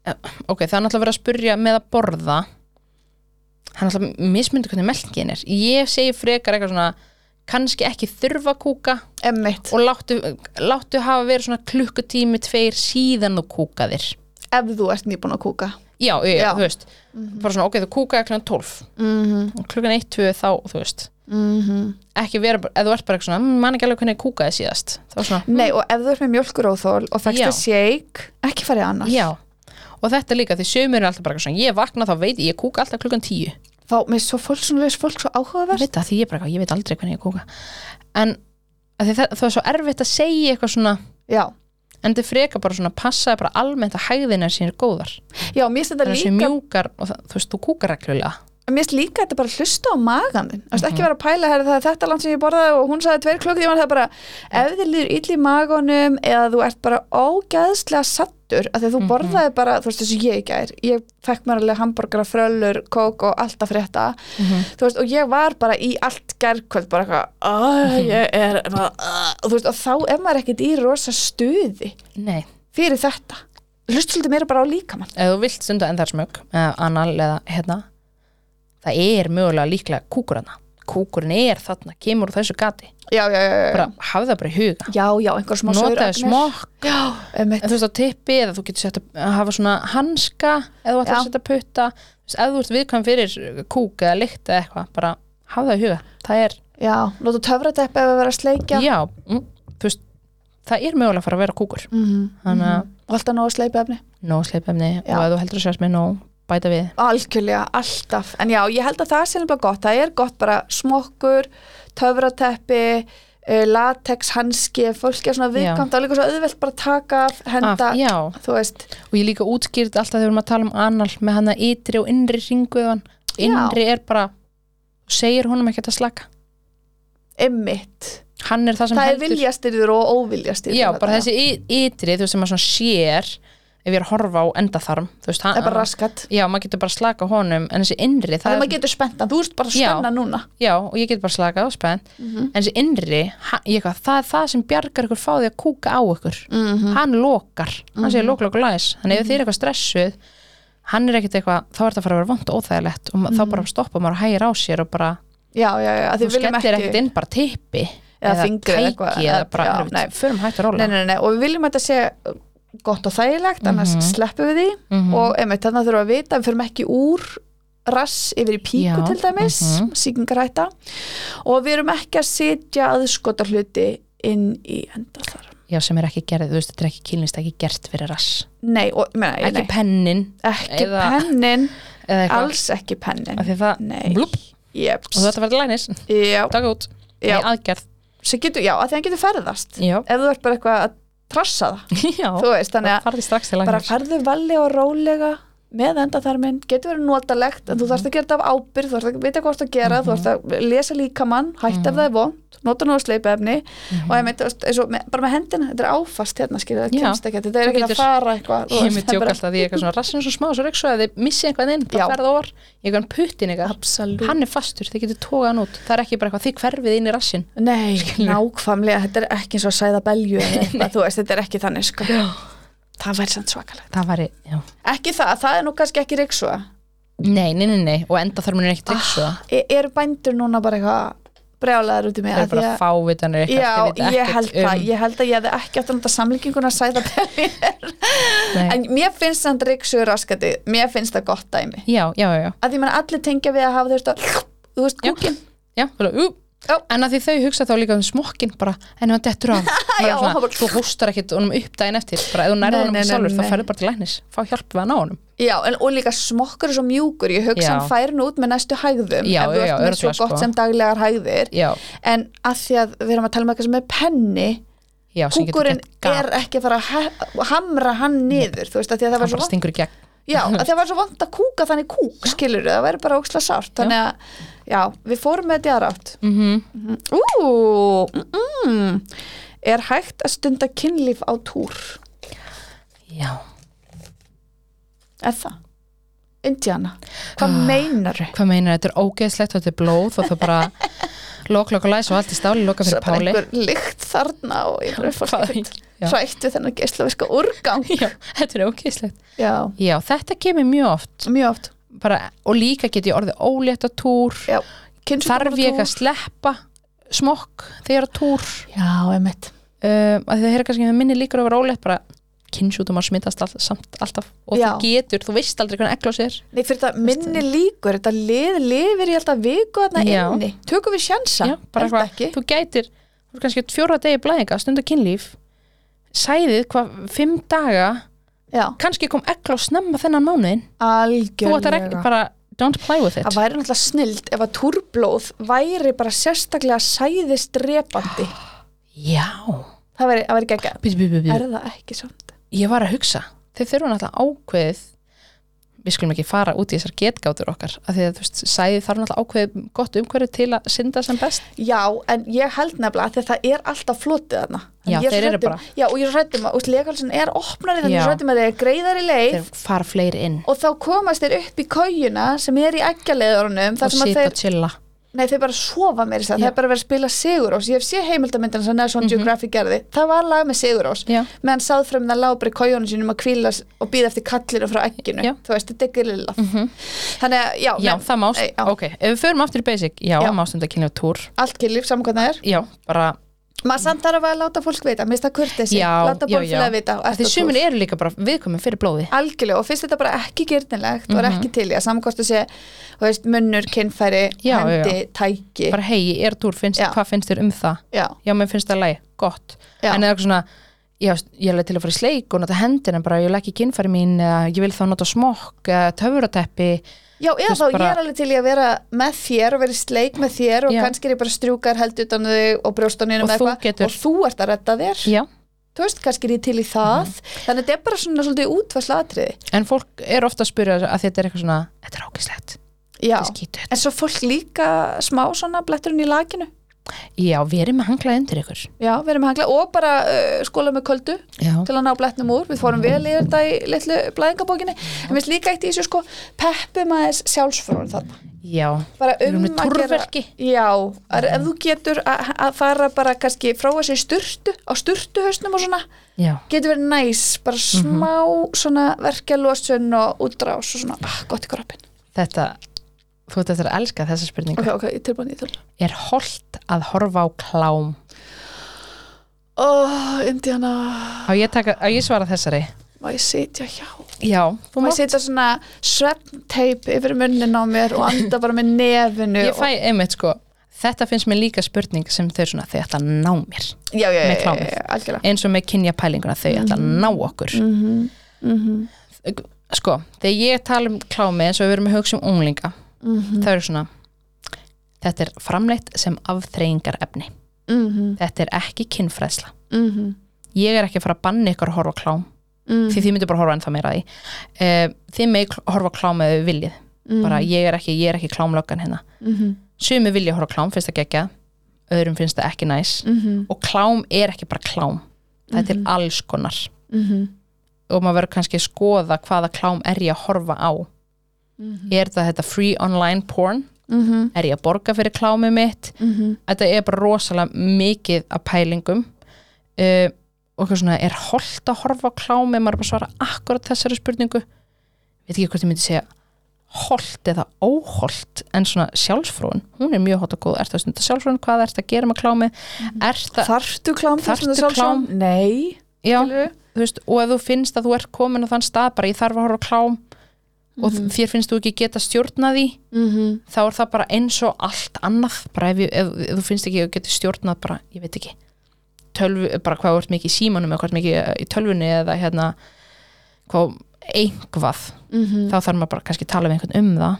Speaker 2: ok, það er náttúrulega verið að spurja með að borða hann alltaf mismundi hvernig melkingin er ég segi frekar eitthvað svona kannski ekki þurfa að kúka
Speaker 1: emmitt,
Speaker 2: og láttu, láttu hafa verið svona klukkutími tveir síðan þú kúkaðir
Speaker 1: ef þú ert nýbúin að kúka
Speaker 2: já, já, já,
Speaker 1: Já. Mhm.
Speaker 2: þú veist bara svona, ok, þú kúkaði klukkan 12
Speaker 1: mm -hmm.
Speaker 2: og klukkan 1, 2 þá, þú veist Mhm. ekki vera, bara- ef þú ert bara eitthvað svona "Mm, man ekki alveg hvernig ég kúkaði síðast þá svona,
Speaker 1: Nei, og ef þú ert með mjölkuróþól og fekkst
Speaker 2: Já.
Speaker 1: að shake, ekki farið annars
Speaker 2: já og þetta líka, því sömur er alltaf bara eitthvað svona ég vakna þá veit ég, ég kúka alltaf klukkan 10
Speaker 1: Fá, með svo fólk svona leys fólk svo
Speaker 2: ég
Speaker 1: áhugaverð
Speaker 2: veit það, því ég er bara eitthvað, ég veit aldrei hvernig ég kúka en af því það, það er svo erfitt að segja eitthvað svona
Speaker 1: Já,
Speaker 2: en þetta er frekar bara svona, passaði bara almennt að hæðina sín er góðar
Speaker 1: já, mér finnst þetta
Speaker 2: það er þessi
Speaker 1: líka
Speaker 2: mjúkar og það, þú veist, þú kúkar reglulega
Speaker 1: mér finnst líka þetta bara að hlusta á magan þinn mm -hmm. ekki vera að pæla herri, það er þetta land sem ég borðaði og hún sagði tveir klokk því það er bara ef þið líður ill í maganum eða þú ert bara ógæðslega sattur að því að þú borðaði bara, þú veist þessu ég í gær ég fekk mér alveg hambúrgara, fröllur, kók og allt að frétta þú veist, og ég var bara í allt gærkvöld bara eitthvað, "Ah, ég er bara, ah," og þú veist, og þá er maður ekkert í rosa stuði
Speaker 2: nei,
Speaker 1: fyrir þetta hlusta svolítið meira bara á líkamann
Speaker 2: ef þú vilt stunda endarsmög eða anal eða hérna það er mögulega líklega kúkur hana kúkurinn er þarna, kemur úr þessu gati
Speaker 1: já, já, já, já, já,
Speaker 2: bara hafa það bara í huga
Speaker 1: já, já einhver smá
Speaker 2: notaðu
Speaker 1: sauragnir.
Speaker 2: smokk,
Speaker 1: já, um
Speaker 2: en þú veist á tippi eða þú getur sett að hafa svona hanska eða þú ætlar
Speaker 1: Já.
Speaker 2: að setja putta Þú veist, ef þú ert viðkvæm fyrir kúk eða lykt eða eitthvað, bara hafa það í huga það er,
Speaker 1: Já, nota töfradepp ef að vera að
Speaker 2: já,
Speaker 1: sleikja
Speaker 2: mm, þú veist það er mögulega að fara að vera kúkur
Speaker 1: mm
Speaker 2: þannig að
Speaker 1: og alltaf nóg að sleipa efni
Speaker 2: nóg sleipefni
Speaker 1: Já.
Speaker 2: og ef þú heldur að sérst með nóg bæta við
Speaker 1: algjörlega, alltaf, en já, ég held að það sé nefnilega gott, það er gott bara smokkur töfrateppi eh, latex, hanski, ef fólk er svona
Speaker 2: Já.
Speaker 1: viðkvæmt, það er líka svo auðvelt bara að taka af, henda,
Speaker 2: Af- já,
Speaker 1: þú veist
Speaker 2: og ég líka útskýrt alltaf þegar við erum að tala um anal með hana ytri og innri ringuðan innri er bara segir honum ekkert að slaka
Speaker 1: emmitt,
Speaker 2: hann er það sem
Speaker 1: það er
Speaker 2: heldur
Speaker 1: viljastyrður og óviljastyrður
Speaker 2: já, bara þessi y- ytri, þú veist sem maður svona sér ef ég er að horfa á endaþarm þú veist, hann,
Speaker 1: það er bara raskat,
Speaker 2: já, maður getur bara slaka á honum en þessi innri, það,
Speaker 1: þannig að
Speaker 2: er,
Speaker 1: maður getur spennt þú ert bara
Speaker 2: Já.
Speaker 1: spenna núna
Speaker 2: já, og ég get bara slakað og spennt
Speaker 1: Mhm.
Speaker 2: en þessi innri, hann, ég, eitthvað, það er það sem bjargar ykkur frá því að kúka á ykkur
Speaker 1: Mhm.
Speaker 2: hann lokar, hann segir lok, lok, læs þannig ef þið er eitthvað stressuð hann er ekkert eitthvað, þá er þetta að fara að vera vond og óþægilegt og mm. þá
Speaker 1: Mhm.
Speaker 2: bara stoppa maður að hægir á sér og bara,
Speaker 1: já, já, já, að
Speaker 2: þú
Speaker 1: þið viljum
Speaker 2: skellir
Speaker 1: ekki
Speaker 2: ekkert inn bara tippi
Speaker 1: Eða fingri eða
Speaker 2: tæki
Speaker 1: eitthvað,
Speaker 2: eða
Speaker 1: eða-
Speaker 2: bara,
Speaker 1: já,
Speaker 2: já,
Speaker 1: nei.
Speaker 2: förum hægt að róla
Speaker 1: nei, nei, nei, og við viljum að þetta sé gott og þægilegt, annars sleppum við því
Speaker 2: Mhm.
Speaker 1: og einmitt, þannig að þurfum að vita, við förum ekki úr rass yfir í píku
Speaker 2: Já,
Speaker 1: til dæmis
Speaker 2: mhm.
Speaker 1: sýkingarhætta og við erum ekki að sitja aðskota hluti inn í enda þar
Speaker 2: já, sem er ekki gerð, þú veist, þetta er ekki kýlnist ekki gert fyrir rass,
Speaker 1: nei, og, ég meina, ég-
Speaker 2: ekki
Speaker 1: nei,
Speaker 2: pennin
Speaker 1: ekki
Speaker 2: eða-
Speaker 1: pennin
Speaker 2: eða eitthvað,
Speaker 1: alls ekki pennin
Speaker 2: af því það
Speaker 1: nei,
Speaker 2: blúpp, og þú
Speaker 1: jeps
Speaker 2: ætti að vera lænis
Speaker 1: já,
Speaker 2: taka út,
Speaker 1: Já.
Speaker 2: nei, aðgerð
Speaker 1: svo getur, já, að því hann getur ferðast
Speaker 2: já,
Speaker 1: ef þú ert bara eitthvað að trassa það
Speaker 2: já,
Speaker 1: þú veist, þannig að
Speaker 2: það farði strax til
Speaker 1: bara
Speaker 2: lænis
Speaker 1: farðu valli og rólega með endaþarminn, getur verið notalegt en þú þarfst
Speaker 2: Mhm.
Speaker 1: að gera þetta af ábyrð, þú þarfst að vita hvað þú ert að gera þú þarfst að lesa líkamann, hætt ef það
Speaker 2: Mhm.
Speaker 1: er vond nota nú að sleipa efni og ég meint, þú veist, eins og með, bara með hendina, þetta er áfast hérna skilja, það
Speaker 2: Já.
Speaker 1: kemst ekki, þetta er
Speaker 2: Þú
Speaker 1: ekki að
Speaker 2: getur-
Speaker 1: fara eitthvað þú
Speaker 2: ég
Speaker 1: veist,
Speaker 2: með
Speaker 1: það er
Speaker 2: tjók
Speaker 1: bara-
Speaker 2: alltaf að ég er eitthvað svona rassin svo smá svo reyksu að þið missi einhvern inn
Speaker 1: Já.
Speaker 2: það ferð over, ég kann puttin ykkar
Speaker 1: Absolutt.
Speaker 2: hann er fastur, þið getur tókað hann út það er ekki bara eitthvað, þið hverfið inn í rassin
Speaker 1: Nei, nákvæmlega, þetta er ekki eins og að sæða belju eða eitthvað, þú veist, þetta er ekki þannig sko. það væri samt svakalegt
Speaker 2: það væri, já,
Speaker 1: ekki það, það er nú kannski ekki riksuða
Speaker 2: nei, nei, nei, nei og enda þarf mér ekki triksu það
Speaker 1: E- eru bændur núna bara eitthvað brjálaðar út í mig
Speaker 2: það
Speaker 1: af
Speaker 2: er
Speaker 1: því
Speaker 2: bara
Speaker 1: að-
Speaker 2: fávitanir ykkar,
Speaker 1: Já,
Speaker 2: þið vitið
Speaker 1: ég
Speaker 2: ekkert um-
Speaker 1: held það, ég held að ég hefði ekki átt að nota samlíkinguna að sæða bellir
Speaker 2: Nei.
Speaker 1: en mér finnst samt ríksugur raskandi, mér finnst það gott dæmi
Speaker 2: já, já, já, já,
Speaker 1: að því mann allir tengja við að hafa þú veist að þú veist
Speaker 2: Já.
Speaker 1: kúkin,
Speaker 2: já, bara, ú
Speaker 1: Já.
Speaker 2: en að því þau hugsa þá líka um smokkin bara, en hann dettur af Maður
Speaker 1: Já,
Speaker 2: er svona,
Speaker 1: hann bara-
Speaker 2: þú hóstar ekkit honum upp daginn eftir bara ef þú nærður
Speaker 1: Nei,
Speaker 2: honum
Speaker 1: nei, nei,
Speaker 2: sjálfur, þá
Speaker 1: nei.
Speaker 2: ferðu bara til læknis fá hjálp við hann á honum
Speaker 1: já, en, og líka smokkur er svo mjúkur, ég hugsa
Speaker 2: Já.
Speaker 1: hann fær nú út með næstu hægðum,
Speaker 2: Já,
Speaker 1: ef þú
Speaker 2: já, já,
Speaker 1: veist með svo
Speaker 2: örugglega,
Speaker 1: gott
Speaker 2: sko.
Speaker 1: sem daglegar hægðir
Speaker 2: já,
Speaker 1: en að því að við erum að tala um eitthvað sem er penni,
Speaker 2: já, sem getur
Speaker 1: kúkurinn
Speaker 2: gert gap.
Speaker 1: er ekki að fara að he- hamra hann niður, þú veist að því að það var
Speaker 2: hann
Speaker 1: svo
Speaker 2: bara
Speaker 1: vant
Speaker 2: stingur í gegn
Speaker 1: Já, að það var svo vond að kúka þannig kúk, skilur það væri bara óksla sárt, þannig að já, við fórum með þetta í aðra átt
Speaker 2: mm
Speaker 1: Ú, mm, mm. er hægt að stunda kynlíf á túr?
Speaker 2: já,
Speaker 1: Er það? Indiana, hvað ah. meinaru?
Speaker 2: hvað meinar, þetta er ógeðslegt og þetta er blóð og það bara lok, lok og læs og allt í stáli loka
Speaker 1: Það
Speaker 2: fyrir
Speaker 1: er bara
Speaker 2: Páli
Speaker 1: einhver lykt þarna og ég er fólk
Speaker 2: Hvað-
Speaker 1: ekkert
Speaker 2: já.
Speaker 1: hrætt við þennan geislaviska úrgang
Speaker 2: já, þetta er ógeðslegt
Speaker 1: Já,
Speaker 2: já, þetta kemur mjög oft
Speaker 1: mjög oft
Speaker 2: bara, og líka get ég orðið ólétt á túr
Speaker 1: Já,
Speaker 2: þarf ég að sleppa smokk þegar ég er á túr
Speaker 1: Já, emitt
Speaker 2: um, að það er kannski með minni líkur að vera ólétt bara kynnsjútumar smittast all, samt, alltaf og
Speaker 1: Já.
Speaker 2: þú getur, þú veist aldrei hvernig eglós er
Speaker 1: Nei, fyrir þetta minni líkur, þetta lið, lifir ég held að viku þarna
Speaker 2: Já.
Speaker 1: inni Tökum við sjansa,
Speaker 2: Já, bara
Speaker 1: held ekki
Speaker 2: eitthvað, þú gætir þú er kannski fjóra degi blæðinga, stundar kynlíf sæðið hvað fimm daga
Speaker 1: Já,
Speaker 2: kannski kom eglós snemma þennan mánuðin þú ættir ekki
Speaker 1: algjörlega
Speaker 2: bara, don't play with it
Speaker 1: Það væri náttúrulega snild ef að túrblóð væri bara sérstaklega sæðist repandi
Speaker 2: já,
Speaker 1: Það væri, það væri gegga
Speaker 2: bíti, bíti, bíti
Speaker 1: Er það ekki samt?
Speaker 2: ég var að hugsa, þeir þurfa náttúrulega ákveðið við skulum ekki fara út í þessar getgátur okkar af því að þú veist, sæði þarf náttúrulega ákveðið gott umhverju til að synda sem best
Speaker 1: Já, en ég held nefnilega þegar það er alltaf flotið þarna En
Speaker 2: Já,
Speaker 1: ég
Speaker 2: þeir eru
Speaker 1: hrædd um-
Speaker 2: bara-
Speaker 1: Já, og ég rættum að, úst, legalsinn er opnari þannig
Speaker 2: Já.
Speaker 1: ég rættum að þeir greiðari leið
Speaker 2: þeir fara fleiri inn
Speaker 1: og þá komast þeir upp í kójuna sem er í ekkjaleðurunum
Speaker 2: og
Speaker 1: þar sem að
Speaker 2: sita
Speaker 1: þeir,
Speaker 2: og chilla
Speaker 1: nei þeir bara sofa meir það,
Speaker 2: Já. Mhm.
Speaker 1: það er bara verið að spila Sigurós ég hef sé heimildamindin sem National Geographic gerði það var lag með Sigurós
Speaker 2: Já.
Speaker 1: meðan sáðfremna lábri kójunum sínum að kvíla og býða eftir kallinu frá ekkinu
Speaker 2: Já. Mhm.
Speaker 1: þú veist, þetta er grillað þannig að, já,
Speaker 2: já,
Speaker 1: menn,
Speaker 2: það mást,
Speaker 1: Ei, já.
Speaker 2: ok, ef við förum aftur í basic já,
Speaker 1: Já.
Speaker 2: já. mást um þetta kynlíf túr
Speaker 1: allt kynlíf, saman hvað það er
Speaker 2: já, bara
Speaker 1: maður samt þarf að láta fólk vita, minnst það kurtið sig
Speaker 2: Já,
Speaker 1: láta
Speaker 2: já,
Speaker 1: fólk
Speaker 2: já.
Speaker 1: vita og
Speaker 2: Af því
Speaker 1: ertu á túr.
Speaker 2: sumir eru líka bara viðkominn fyrir blóði
Speaker 1: algjörlega og finnst þetta bara ekki gyrnilegt og er
Speaker 2: Mhm.
Speaker 1: ekki til í að samkostu sé þú veist, munnur, kynfæri,
Speaker 2: Já, já, já.
Speaker 1: hendi, tæki
Speaker 2: bara hei, ég er túr, finnst,
Speaker 1: Já.
Speaker 2: hvað finnst þér um það
Speaker 1: já,
Speaker 2: já, mér finnst það læg, gott
Speaker 1: Já.
Speaker 2: en eða eitthvað svona, já, ég er alveg til að fara í sleik og nota hendina bara, ég legg í kynfæri mín eða ég vil þá nota smokk, eða töfurateppi
Speaker 1: Já, eða
Speaker 2: veist,
Speaker 1: þá
Speaker 2: bara-
Speaker 1: ég er alveg til í að vera með þér og vera í sleik með þér og
Speaker 2: Já.
Speaker 1: kannski er ég bara strjúkar held utan á þig og brjóstaninu
Speaker 2: Og
Speaker 1: með
Speaker 2: þú
Speaker 1: eitthvað
Speaker 2: getur-
Speaker 1: og þú ert að redda þér
Speaker 2: já, Mhm.
Speaker 1: þú veist, kannski er ég til í það þannig að þetta er bara svona svolítið útvarslatriði
Speaker 2: en fólk er ofta að spyrja að þetta er eitthvað svona, þetta er ákislegt
Speaker 1: Já,
Speaker 2: þetta er skítið,
Speaker 1: en svo fólk líka smá svona bletturinn í lakinu
Speaker 2: já, verið með hanglaði undir ykkur
Speaker 1: Já, við erum hangla og bara uh, skóla með köldu
Speaker 2: já,
Speaker 1: til að ná bletnum úr, við fórum vel í þetta í litlu blæðingabókinni, en við líka eitt í þessu sko, peppum aðeins sjálfsfrón þarna
Speaker 2: já,
Speaker 1: bara
Speaker 2: Við
Speaker 1: um
Speaker 2: erum með
Speaker 1: að gera
Speaker 2: túrverki.
Speaker 1: já, að, ef þú getur að, að fara bara kannski frá þessi styrtu á styrtuhausnum og svona
Speaker 2: já
Speaker 1: getur verið næs, bara smá svona verkjalósun og útrás og svona, ah, gott í kroppin
Speaker 2: þetta, þú veit eftir að elska þessa spurningu,
Speaker 1: ok, ok, ég tilbúin, ég tilbúin
Speaker 2: er holdt að horfa á klám
Speaker 1: ó, Indiana,
Speaker 2: á ég, taka, á ég svara þessari
Speaker 1: má ég sitja hjá
Speaker 2: já, þú
Speaker 1: má ég
Speaker 2: mátt
Speaker 1: sitja svona svefnteip yfir munnin á mér og anda bara með nefinu
Speaker 2: ég fæ einmitt sko þetta finnst mér líka spurning sem þau svona þau ætla að ná mér
Speaker 1: og, já, já, já,
Speaker 2: með
Speaker 1: já,
Speaker 2: klámið.
Speaker 1: já, algjörlega
Speaker 2: eins og með kynja pælinguna þau ætla að ná okkur
Speaker 1: mm -hmm. Mm -hmm.
Speaker 2: sko, þegar ég tala um klámi eins og við erum að hugsa um unglinga
Speaker 1: Mhm,
Speaker 2: það eru svona þetta er framleitt sem afþreyingar efni
Speaker 1: Mm -hmm.
Speaker 2: þetta er ekki kynfræðsla
Speaker 1: Mm -hmm.
Speaker 2: ég er ekki að fara að banna ykkur að horfa á klám
Speaker 1: mhm,
Speaker 2: því þið myndu bara að horfa ennþá meira að því Eh, þið með horfa á klám eða við viljið bara ég er ekki, ég er ekki klámlöggan hérna
Speaker 1: mhm,
Speaker 2: sumi vilja horfa á klám, finnst það gekkja öðrum finnst það ekki næs
Speaker 1: mhm,
Speaker 2: og klám er ekki bara klám þetta er alls konar
Speaker 1: mhm,
Speaker 2: og maður verður kannski að skoða hvaða klám er ég að horfa á er það þetta free online porn
Speaker 1: mhm,
Speaker 2: er ég að borga fyrir klámið mitt þetta er bara rosalega mikið af pælingum uh, og eitthvað svona er holdt að horfa á klámið maður er bara að svara akkurat þessari spurningu veit ekki hvort ég myndi segja holdt eða óholdt en svona sjálfsfrún, hún er mjög hótt og góð ert að stunda sjálfsfrún, hvað ert að gera með klámið ert að,
Speaker 1: Þarftu klám þess að
Speaker 2: Þarftu
Speaker 1: það sjálfsjón? Nei
Speaker 2: já,
Speaker 1: skilurðu?
Speaker 2: þú veist, og ef þú finnst að þú ert komin á þann stað bara ég þarf að horfa á klám og
Speaker 1: Mhm.
Speaker 2: þér finnst þú ekki geta stjórnað því þá er það bara eins og allt annað bara ef, ég, ef, ef þú finnst ekki að þú getur stjórnað bara, ég veit ekki tölvu, bara hvað þú ert mikið í símanum eða hvað þú ert mikið eh, í tölvunni eða hérna hvað einhvað
Speaker 1: Mhm.
Speaker 2: þá þarf maður bara kannski að tala við einhvern um það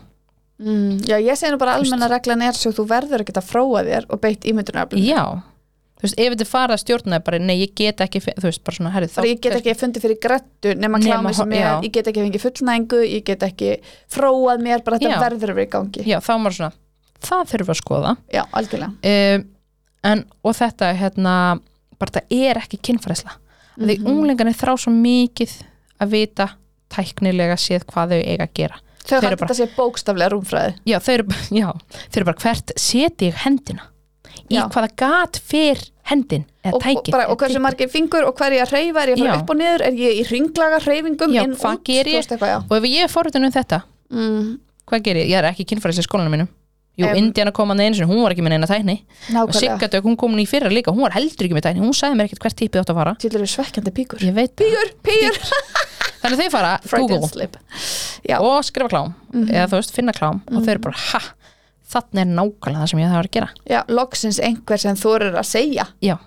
Speaker 1: Mm, Já, ég segi nú bara almenna reglan er svo þú verður ekki að fróa þér og beitt ímyndunaröflun
Speaker 2: já, þú veist, ef þetta er fara að stjórna bara, nei, ég get ekki, fe- þú veist, bara svona herri, þá,
Speaker 1: Ég get ekki fundið fyrir grættu nema
Speaker 2: Nema
Speaker 1: klámi sem
Speaker 2: ho-
Speaker 1: er,
Speaker 2: já.
Speaker 1: ég get ekki fengið fullnæðingu ég get ekki fróað mér bara þetta
Speaker 2: Já.
Speaker 1: verður að vera í gangi
Speaker 2: já, þá er maður svona það þurfum við að skoða
Speaker 1: Já, algjörlega
Speaker 2: um, en, og þetta hérna, bara það er ekki kynfærisla mm
Speaker 1: Mhm.
Speaker 2: því unglingarnir þrá svo mikið að vita tæknilega séð hvað þau eiga að gera
Speaker 1: Þau
Speaker 2: eru
Speaker 1: hætti
Speaker 2: bara-
Speaker 1: þetta sé bókstaflega rúmfræði
Speaker 2: já, þau eru, bara- já, þau eru bara hvert seti ég hendina í
Speaker 1: Já.
Speaker 2: hvaða gat fyrr hendin
Speaker 1: og,
Speaker 2: eða
Speaker 1: og,
Speaker 2: tækið
Speaker 1: bara,
Speaker 2: eða
Speaker 1: og hversu
Speaker 2: tyttið.
Speaker 1: margir fingur og hverja reyfa er ég að fara
Speaker 2: Já.
Speaker 1: upp og niður er ég í ringlaga reyfingum
Speaker 2: Já,
Speaker 1: inn
Speaker 2: hvað
Speaker 1: út,
Speaker 2: geri
Speaker 1: þú
Speaker 2: ég?
Speaker 1: veist eitthvað, já.
Speaker 2: og ef ég er forutun um þetta
Speaker 1: mm,
Speaker 2: hvað ger ég, ég er ekki kynfærislega skólanum mínum Jú,
Speaker 1: Em.
Speaker 2: um, Indiana kom hann einu sinni, hún var ekki með neina tækni og
Speaker 1: nákvæmlega,
Speaker 2: Sigga Dögg, hún kom hún í fyrra líka, hún var heldur ekki með tækni hún sagði mér ekkert hvert típið átt að fara
Speaker 1: til eru svekkjandi píkur
Speaker 2: ég veit það,
Speaker 1: píkur, píkur,
Speaker 2: þannig að þau fara
Speaker 1: Freudian
Speaker 2: Google
Speaker 1: slip Já.
Speaker 2: og skrifa klám
Speaker 1: Mhm.
Speaker 2: eða þú veist, finna klám og þau eru bara, ha, þannig er nákvæmlega það sem ég það var að gera
Speaker 1: já, loksins einhver sem þú eru að segja
Speaker 2: Já.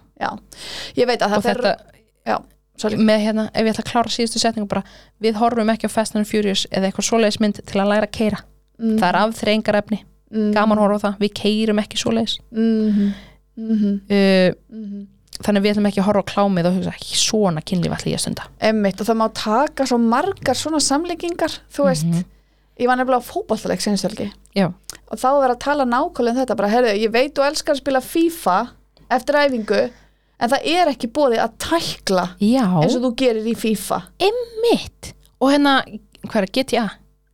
Speaker 1: ég veit að
Speaker 2: og
Speaker 1: það fer
Speaker 2: þetta,
Speaker 1: já, sorry.
Speaker 2: með hérna, ef ég ætla að klára síðustu setningu bara, við horfum ekki á Fast and Furious eða eitthvað svoleiðis mynd til að læra að keira
Speaker 1: mm,
Speaker 2: það er afþreyingar efni,
Speaker 1: mm,
Speaker 2: gaman að horfa á það við keirum ekki svoleiðis
Speaker 1: mhm, mhm,
Speaker 2: uh,
Speaker 1: mhm.
Speaker 2: þannig að við ætlum ekki að horfa á klámið og hugsa, "Í svona kynlíf ætla ég að stunda
Speaker 1: Einmitt, og það má taka svo margar svona samlíkingar þú veist,
Speaker 2: Mhm.
Speaker 1: ég var nefnilega á fótballtaleik sinnsvelgi
Speaker 2: Já.
Speaker 1: og þá var að tala nákvæmlega um þetta bara, herðu, ég veit þú elskar að spila FIFA eftir æfingu en það er ekki bóðið að tækla eins
Speaker 2: já,
Speaker 1: og þú gerir í FIFA
Speaker 2: mitt og hérna, hvað er GTA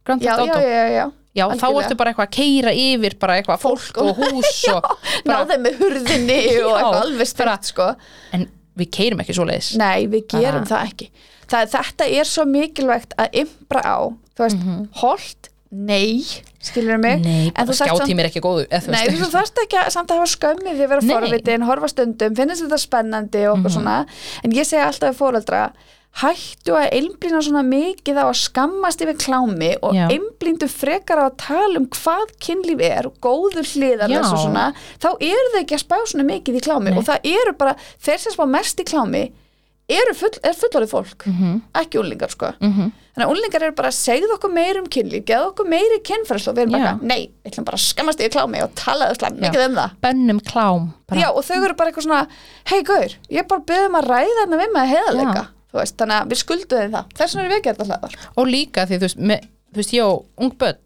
Speaker 2: Grand
Speaker 1: já,
Speaker 2: Theft
Speaker 1: já,
Speaker 2: Auto, já,
Speaker 1: já, já, já.
Speaker 2: þá
Speaker 1: algjörlega.
Speaker 2: ertu bara eitthvað að keira yfir bara eitthvað fólk og hús og bara,
Speaker 1: náðið með hurðinni og
Speaker 2: Já,
Speaker 1: eitthvað alveg strætt sko.
Speaker 2: en við keirum ekki svoleiðis
Speaker 1: nei, við gerum
Speaker 2: Bara-
Speaker 1: það ekki það, þetta er svo mikilvægt að ymbra á þú veist, mm holt, nei skilur mig,
Speaker 2: Mhm. nei, bara
Speaker 1: þú þarft samt-
Speaker 2: skjátími er ekki góðu eða þú
Speaker 1: Nei, þú
Speaker 2: veist,
Speaker 1: þarft ekki að, samt að hafa skömmið því að vera
Speaker 2: Nei. Mhm.
Speaker 1: forvitin, horfa stundum, finnast þetta spennandi og okkur svona en ég segi alltaf við fóreldra hættu að einblýna svona mikið á að skammast yfir klámi og
Speaker 2: Já.
Speaker 1: einblýndu frekar á að tala um hvað kynlíf er og góður hliðar
Speaker 2: Já.
Speaker 1: þessu svona, þá eru þau ekki að spá svona mikið í klámi
Speaker 2: Nei.
Speaker 1: og það eru bara, þeir sem spá mest í klámi eru full, er fullorðið fólk
Speaker 2: Mhm.
Speaker 1: ekki úlingar sko
Speaker 2: Mhm.
Speaker 1: þannig að úlingar eru bara, segðu okkur meir um kynlíf geðu okkur meiri kynfærslu og við erum bara,
Speaker 2: Já.
Speaker 1: eitthvað, nei, við ætlum bara að skammast yfir klámi og talaðu slæm mikið um það
Speaker 2: bönnum klám bara,
Speaker 1: Já, og þau eru bara eitthvað svona, hei gaur, ég er bara beðum að ræða þarna við með heiðarleika Þú veist, þannig að við skuldum þeim það, þess vegna erum við ekki alltaf hlæðar
Speaker 2: og líka því þú veist, með, þú veist, já, ung börn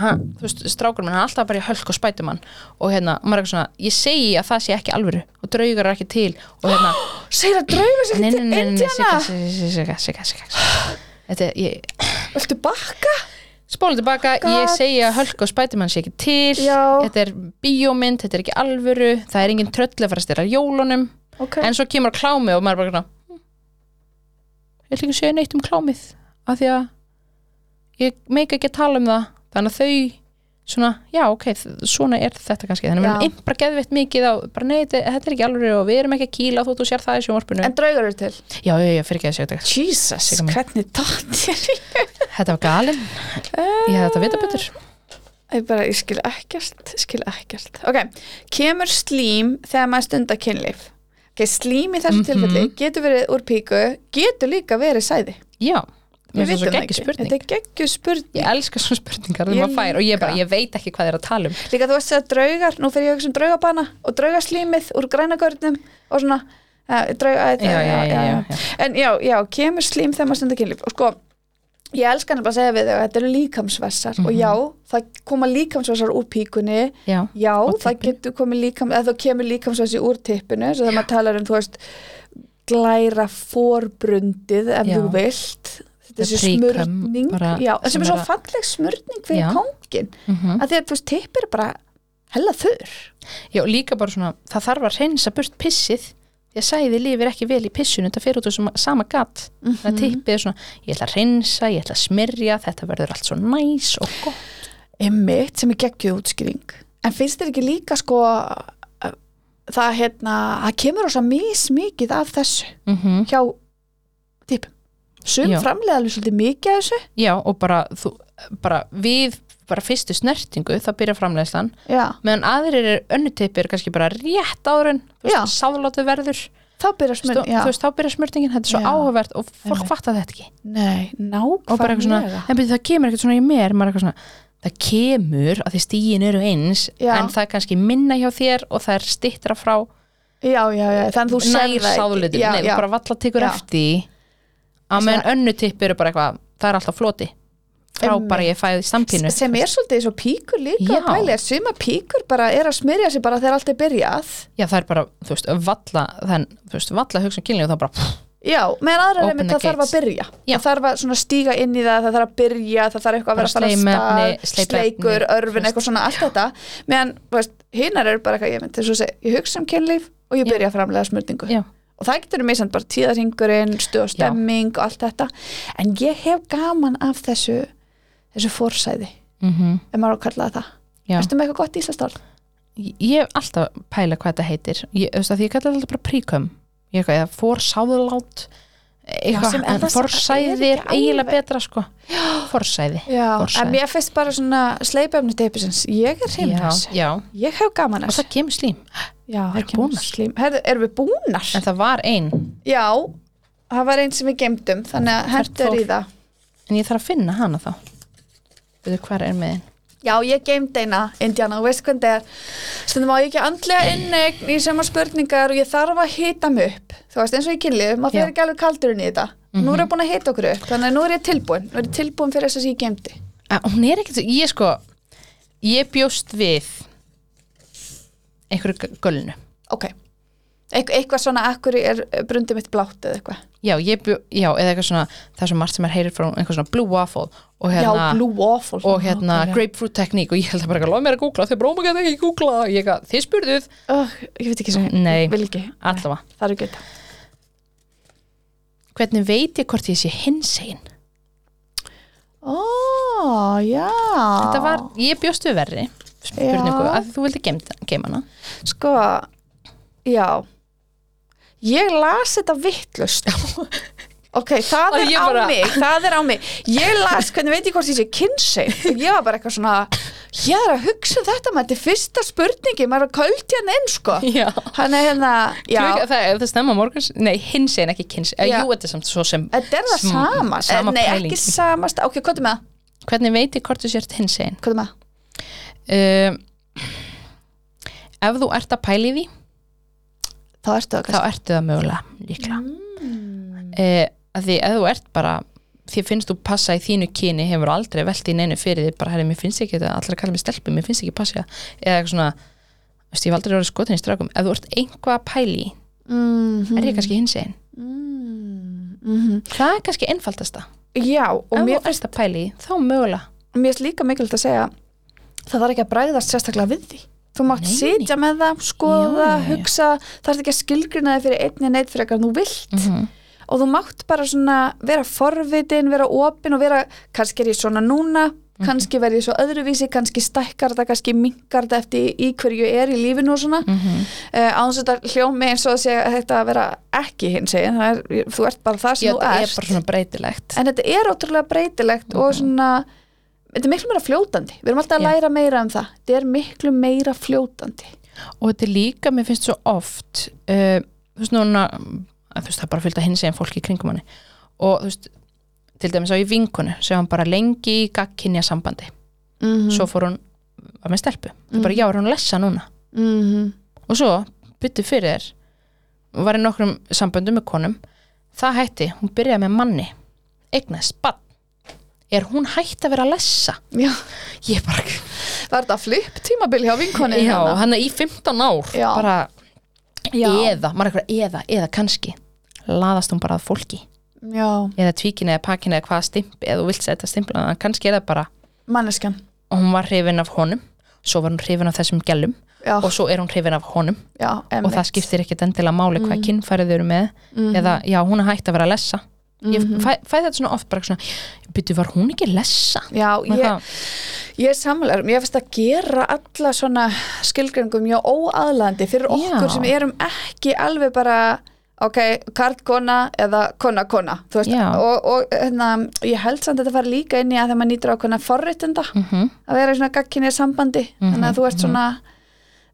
Speaker 2: ha, þú veist, strákur minn, hann er alltaf bara í hölk og spætum hann og hérna, og maður er eitthvað svona, ég segi að það sé ekki alvöru og draugar er ekki til og hérna,
Speaker 1: Segir að drauga sér
Speaker 2: nei,
Speaker 1: til
Speaker 2: nei, nei, nei,
Speaker 1: Indiana,
Speaker 2: sigga, sigga, sigga, sigga, sigga þetta, er- ég,
Speaker 1: viltu bakka?
Speaker 2: spóla tilbaka, ég
Speaker 1: Gat.
Speaker 2: segi að hölk og spætum hann sé ekki til
Speaker 1: Já.
Speaker 2: þetta er bíómynd, þetta er ekki alvöru það er engin tröll að fara að styrra jólunum
Speaker 1: Ok,
Speaker 2: en svo kemur klámi og maður bara svona, "Hm, ég ætla ekki að segja neitt um klámið af því að ég meika ekki að tala um það þannig að þau svona, já ok, þ- svona er þetta kannski þannig að
Speaker 1: Já.
Speaker 2: við erum bara geðveitt mikið á bara nei, þetta þetta er ekki alveg og við erum ekki að kýla þótt þú sér það í sjónvarpinu
Speaker 1: en draugar eru til
Speaker 2: já, já, já, fyrir ekki að segja þetta
Speaker 1: Jesus,
Speaker 2: Sigga mín.
Speaker 1: hvernig datt ég í?
Speaker 2: þetta var galinn, ég hefði þetta að vita betur
Speaker 1: Eh, Ég bara, ég skil ekkert, skil ekkert Ok, kemur slím þegar maður stundar kynlíf Ok, slím í þessu
Speaker 2: Mhm.
Speaker 1: tilfelli getur verið úr píku, getur líka verið sæði
Speaker 2: já, mér
Speaker 1: Við vitum
Speaker 2: finnst það
Speaker 1: það
Speaker 2: svo ekki
Speaker 1: ekki.
Speaker 2: spurning
Speaker 1: Þetta er geggjuð spurning
Speaker 2: ég elska svona spurningar þegar
Speaker 1: Ég
Speaker 2: maður fær og ég bara,
Speaker 1: líka.
Speaker 2: ég veit ekki hvað þeir eru að tala um
Speaker 1: Líka þú veist að draugar, nú fyrir ég að hugsa um draugabana og draugaslímið úr grænagörnum og svona uh, drauga,
Speaker 2: já, já, já, já, já.
Speaker 1: eh. En já, já, kemur slím þegar maður stundar kynlíf og sko, ég elska hann bara að segja við þau að þetta eru líkamsvessar og já,
Speaker 2: Mhm.
Speaker 1: það koma líkamsvessar úr píkunni
Speaker 2: Já.
Speaker 1: Já,
Speaker 2: Og
Speaker 1: það
Speaker 2: tippinu.
Speaker 1: getur komið líkam eða þá kemur líkamsvessi úr tippinu svo þegar maður talar um, þú veist glæra fórbrundið ef
Speaker 2: Já.
Speaker 1: þú vilt þetta er
Speaker 2: Það
Speaker 1: þessi
Speaker 2: príkam
Speaker 1: smurning
Speaker 2: bara
Speaker 1: já, sem,
Speaker 2: sem
Speaker 1: er svo
Speaker 2: er að-
Speaker 1: falleg smurning fyrir
Speaker 2: Já.
Speaker 1: kóngin
Speaker 2: Mhm.
Speaker 1: að því að þú veist, tipp er bara hella þurr
Speaker 2: Já, og líka bara svona, það þarf að reynsa burt pissið því að sæði lifir ekki vel í pissinu þetta fyrir út úr sama- sama gatt það tippið er svona, ég ætla að reynsa, ég ætla að smyrja þetta verður allt svo næs og gott
Speaker 1: emmitt sem er geggjuð útskýring en finnst þér ekki líka sko að- það hérna það kemur ósa mismikið af þessu
Speaker 2: Mhm.
Speaker 1: hjá tippum sum
Speaker 2: Já.
Speaker 1: framlega alveg svolítið mikið af þessu
Speaker 2: Já, og bara, þú, bara við bara fyrstu snertingu, það byrja framleiðslan
Speaker 1: já,
Speaker 2: meðan aðrir er önnutippir kannski bara rétt áður en þú
Speaker 1: Já.
Speaker 2: veist, sáðláttu verður
Speaker 1: þá byrjar
Speaker 2: Stó,
Speaker 1: smurning já.
Speaker 2: þú veist, þá byrja smörtingin, þetta er svo
Speaker 1: Já.
Speaker 2: áhugavert og fólk
Speaker 1: Einmitt.
Speaker 2: fattar þetta ekki
Speaker 1: Nei,
Speaker 2: og bara eitthvað svona,
Speaker 1: nákvæmlega
Speaker 2: en byrju það kemur ekkert svona í mér maður er eitthvað svona, það kemur að því stíin eru eins,
Speaker 1: Já.
Speaker 2: en það er kannski minna hjá þér og það er stittra frá
Speaker 1: Já, já, já, þannig þú sérð það
Speaker 2: nær
Speaker 1: ekki.
Speaker 2: sáðlutin,
Speaker 1: já,
Speaker 2: nei, þú
Speaker 1: já.
Speaker 2: bara valla tekur
Speaker 1: Já.
Speaker 2: eftir því. á
Speaker 1: Þess
Speaker 2: meðan önnu tipp eru bara eitthvað, það er alltaf floti frá
Speaker 1: Einmitt.
Speaker 2: bara ég fæði samtínu
Speaker 1: sem er svolítið eins og píkur líka
Speaker 2: Já.
Speaker 1: að pæli að suma píkur bara er að smyrja sig bara þegar allt er byrjað
Speaker 2: já það er bara, þú veist, valla þann, þú veist, valla hugsa um kynlíf og það bara pff,
Speaker 1: Já, meðan aðra
Speaker 2: Open
Speaker 1: reymi
Speaker 2: the
Speaker 1: það þarf að
Speaker 2: gates.
Speaker 1: byrja
Speaker 2: Já.
Speaker 1: það þarf að svona stíga inn í það, það þarf að byrja það þarf eitthvað að
Speaker 2: Bara
Speaker 1: vera að fara af
Speaker 2: sleimefni,
Speaker 1: stað,
Speaker 2: sleipefni,
Speaker 1: sleikur,
Speaker 2: þú veist.
Speaker 1: örfin eitthvað svona allt þetta, meðan, þú veist, hinnar eru bara eitthvað, ég myndi svo að segja, ég hugsa um kynlíf og ég
Speaker 2: Já.
Speaker 1: byrja að framlega smurningu
Speaker 2: Já.
Speaker 1: og það getur mér samt bara tíðarhingurinn, stuð og
Speaker 2: Já.
Speaker 1: stemming og allt þetta, en ég hef gaman af þessu þessu forsæði,
Speaker 2: mm
Speaker 1: ef maður á að kalla það það.
Speaker 2: Já.
Speaker 1: Ertu með eitthvað gott íslenskt orð?
Speaker 2: Ég ég hef alltaf pæla hvað þetta heitir ég, þú veist að því ég kallar þetta bara príkum ég er eitthvað, eða forsáðulát
Speaker 1: Já, sem
Speaker 2: eitthvað,
Speaker 1: er
Speaker 2: en
Speaker 1: það-
Speaker 2: forsæði
Speaker 1: er
Speaker 2: er
Speaker 1: ekki
Speaker 2: eiginlega
Speaker 1: alveg-
Speaker 2: betra sko forsæði
Speaker 1: Já,
Speaker 2: Forsæði.
Speaker 1: en mér finnst bara svona sleipefni teipisins, ég er hreimur
Speaker 2: já,
Speaker 1: þessu.
Speaker 2: já,
Speaker 1: Ég hef gaman
Speaker 2: og
Speaker 1: þessu.
Speaker 2: það kemur slím
Speaker 1: Já,
Speaker 2: erum
Speaker 1: það kemur
Speaker 2: búnar.
Speaker 1: slím. Herðu, erum við búnar?
Speaker 2: en það var ein,
Speaker 1: Já, það var einn sem við gemdum, þannig að hendur
Speaker 2: fór?
Speaker 1: í það.
Speaker 2: en ég þarf að finna hana þá veitur hver er með þinn
Speaker 1: Já, ég geimd eina, Indiana, og veist hvernig það er stundum á ég ekki andlega innegn í sama spurningar og ég þarf að hita mig upp þú veist, eins og ég kynlið, maður
Speaker 2: Já. Mhm.
Speaker 1: fer ekki alveg kaldurinn í þetta nú er ég búin að hita okkur upp, þannig að nú er ég tilbúin nú er ég tilbúin fyrir þess að ég geimdi
Speaker 2: að Ah, hún er ekkert, ég sko ég bjóst við einhverju g- gölnu
Speaker 1: ok, Eik, eitthvað svona akkur er brundið mitt blátt eða eitthvað
Speaker 2: já, ég bjó, já, eða eitthvað svona það er svo margt sem er heyrir frá einhver svona blue waffle og hérna
Speaker 1: já, blue waffle
Speaker 2: og hérna
Speaker 1: Nákvæmlega.
Speaker 2: grapefruit tekník og ég held að bara lofa mér að googla þau bróma ekki ekki googla og ég eitthvað, þið spurðuð
Speaker 1: Ugh, ég veit ekki sem,
Speaker 2: Nei.
Speaker 1: vil ekki
Speaker 2: allavega,
Speaker 1: það er ekki þetta
Speaker 2: hvernig veit ég hvort ég sé hins einn
Speaker 1: ó, já
Speaker 2: þetta var, ég bjóst við verri spurningu,
Speaker 1: Já.
Speaker 2: að þú vildi geima hana
Speaker 1: sko, já ég las þetta vittlust ok, það
Speaker 2: Og
Speaker 1: er
Speaker 2: ég
Speaker 1: á
Speaker 2: bara-
Speaker 1: mig það er á mig, ég las hvernig veit ég hvort ég sé kynsei og ég var bara eitthvað svona ég er að hugsa um þetta maður, þetta er fyrsta spurningi, maður er að köldi hann inn sko,
Speaker 2: já,
Speaker 1: hann er hérna já,
Speaker 2: Klukka, það, ef það stemma morguns, nei hins einn ekki kyns eh,
Speaker 1: Já.
Speaker 2: jú, þetta er samt svo sem
Speaker 1: þetta er það
Speaker 2: Sm-
Speaker 1: sama, Eh,
Speaker 2: sama
Speaker 1: nei,
Speaker 2: pæling.
Speaker 1: ekki sama sta- ok, hvað er með það?
Speaker 2: hvernig veit ég hvort þú sért hins einn
Speaker 1: Hvað er með það?
Speaker 2: um, ef þú ert að pæli því
Speaker 1: þá ertu það
Speaker 2: þá
Speaker 1: kannski
Speaker 2: ertu það mögulega líkla
Speaker 1: Mm.
Speaker 2: eh, að því ef þú ert bara því finnst þú passa í þínu kyni hefur aldrei velt í neinu fyrir því bara herri, mér finnst ekki þetta, allir að kalla mér stelpu, mér finnst ekki passa í það. eða eitthvað svona veist, ég hef aldrei orðið skotin í strákum, ef þú ert einhvað að pæli í,
Speaker 1: mm
Speaker 2: er ég kannski hins einn
Speaker 1: -hmm.
Speaker 2: það er kannski einfaldasta
Speaker 1: já, og
Speaker 2: ef
Speaker 1: mér
Speaker 2: þú ert að pæli í, þá mögulega
Speaker 1: mér finnst líka mikilvægt að segja það þarf ekki að bræðast sérstaklega við því þú mátt
Speaker 2: Nei, nei.
Speaker 1: sitja með það, skoða,
Speaker 2: Já, já, já.
Speaker 1: hugsa það er ekki að skilgrina þig fyrir einni neitt fyrir eitthvað þú vilt
Speaker 2: mm -hmm.
Speaker 1: og þú mátt bara svona vera forvitin, vera opin og vera, kannski er ég svona núna
Speaker 2: Mhm.
Speaker 1: kannski verð ég svo öðruvísi, kannski stækkar það, kannski minkar það eftir í hverju ég er í lífinu og
Speaker 2: Mhm.
Speaker 1: svona mm -hmm. án þetta hljómi eins og að segja að þetta vera ekki hins egin er, þú ert bara það sem
Speaker 2: ég
Speaker 1: þú
Speaker 2: er
Speaker 1: ert
Speaker 2: bara svona breytilegt
Speaker 1: en þetta er ótrúlega breytilegt og svona þetta er miklu meira fljótandi, við erum alltaf að
Speaker 2: Já.
Speaker 1: læra meira um það þetta er miklu meira fljótandi
Speaker 2: og þetta er líka, mér finnst svo oft uh, þú veist núna að þú veist það er bara fylgta hins einn fólki í kringum hann og þú veist, til dæmis á ég vinkonu sem hann bara lengi í gagkinja sambandi
Speaker 1: mm
Speaker 2: svo fór hún var með stelpu, það er bara já, er hún lessa núna
Speaker 1: mm -hmm.
Speaker 2: og svo byttu fyrir þér og var í nokkrum samböndum með konum það hætti, hún byrjaði með manni eignaðist bann er hún hætt að vera að lessa
Speaker 1: já,
Speaker 2: ég bara,
Speaker 1: var þetta flipp tímabil hjá vinkonu
Speaker 2: já, hann er í 15 ár
Speaker 1: hérna. Já.
Speaker 2: bara,
Speaker 1: já,
Speaker 2: eða, maður er eitthvað eða, eða kannski laðast hún bara að fólki
Speaker 1: já,
Speaker 2: eða tvíkina eða pakina eða hvaða stimpli eða þú vilt setja stimpla, en kannski er það bara
Speaker 1: manneskjan
Speaker 2: og hún var hrifin af honum svo var hún hrifin af þessum gælum
Speaker 1: já,
Speaker 2: og svo er hún hrifin af honum
Speaker 1: já,
Speaker 2: og það skiptir ekkit endilega máli hvað
Speaker 1: Mhm.
Speaker 2: mm. kynfærið þau eru með eða já, hún er hægt að vera að lessa ég
Speaker 1: Mhm.
Speaker 2: fæ, fæ þetta svona oft bara svona byrju, var hún ekki að lessa?
Speaker 1: já,
Speaker 2: Með
Speaker 1: ég,
Speaker 2: það?
Speaker 1: ég er samlega ég finnst að gera alla svona skilgrengum mjög óaðlandi fyrir okkur
Speaker 2: Já.
Speaker 1: sem erum ekki alveg bara ok, kartkona eða kona-kona þú veist,
Speaker 2: Já.
Speaker 1: og, og hérna, ég held samt að þetta fari líka inn í að þegar maður nýtur ákveðna forréttinda
Speaker 2: Mhm.
Speaker 1: að vera í svona gagkinni sambandi þannig að þú ert svona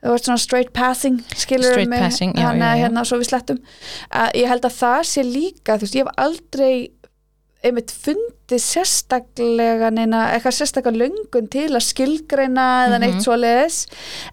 Speaker 1: þú ert svona straight passing skilur
Speaker 2: Straight passing, já,
Speaker 1: þannig að
Speaker 2: já, já.
Speaker 1: hérna svo við slettum að ég held að það sé líka þú veist, ég hef aldrei einmitt fundið sérstaklega neina, eitthvað sérstaklega löngun til að skilgreina eða
Speaker 2: Mhm.
Speaker 1: neitt svoleiðis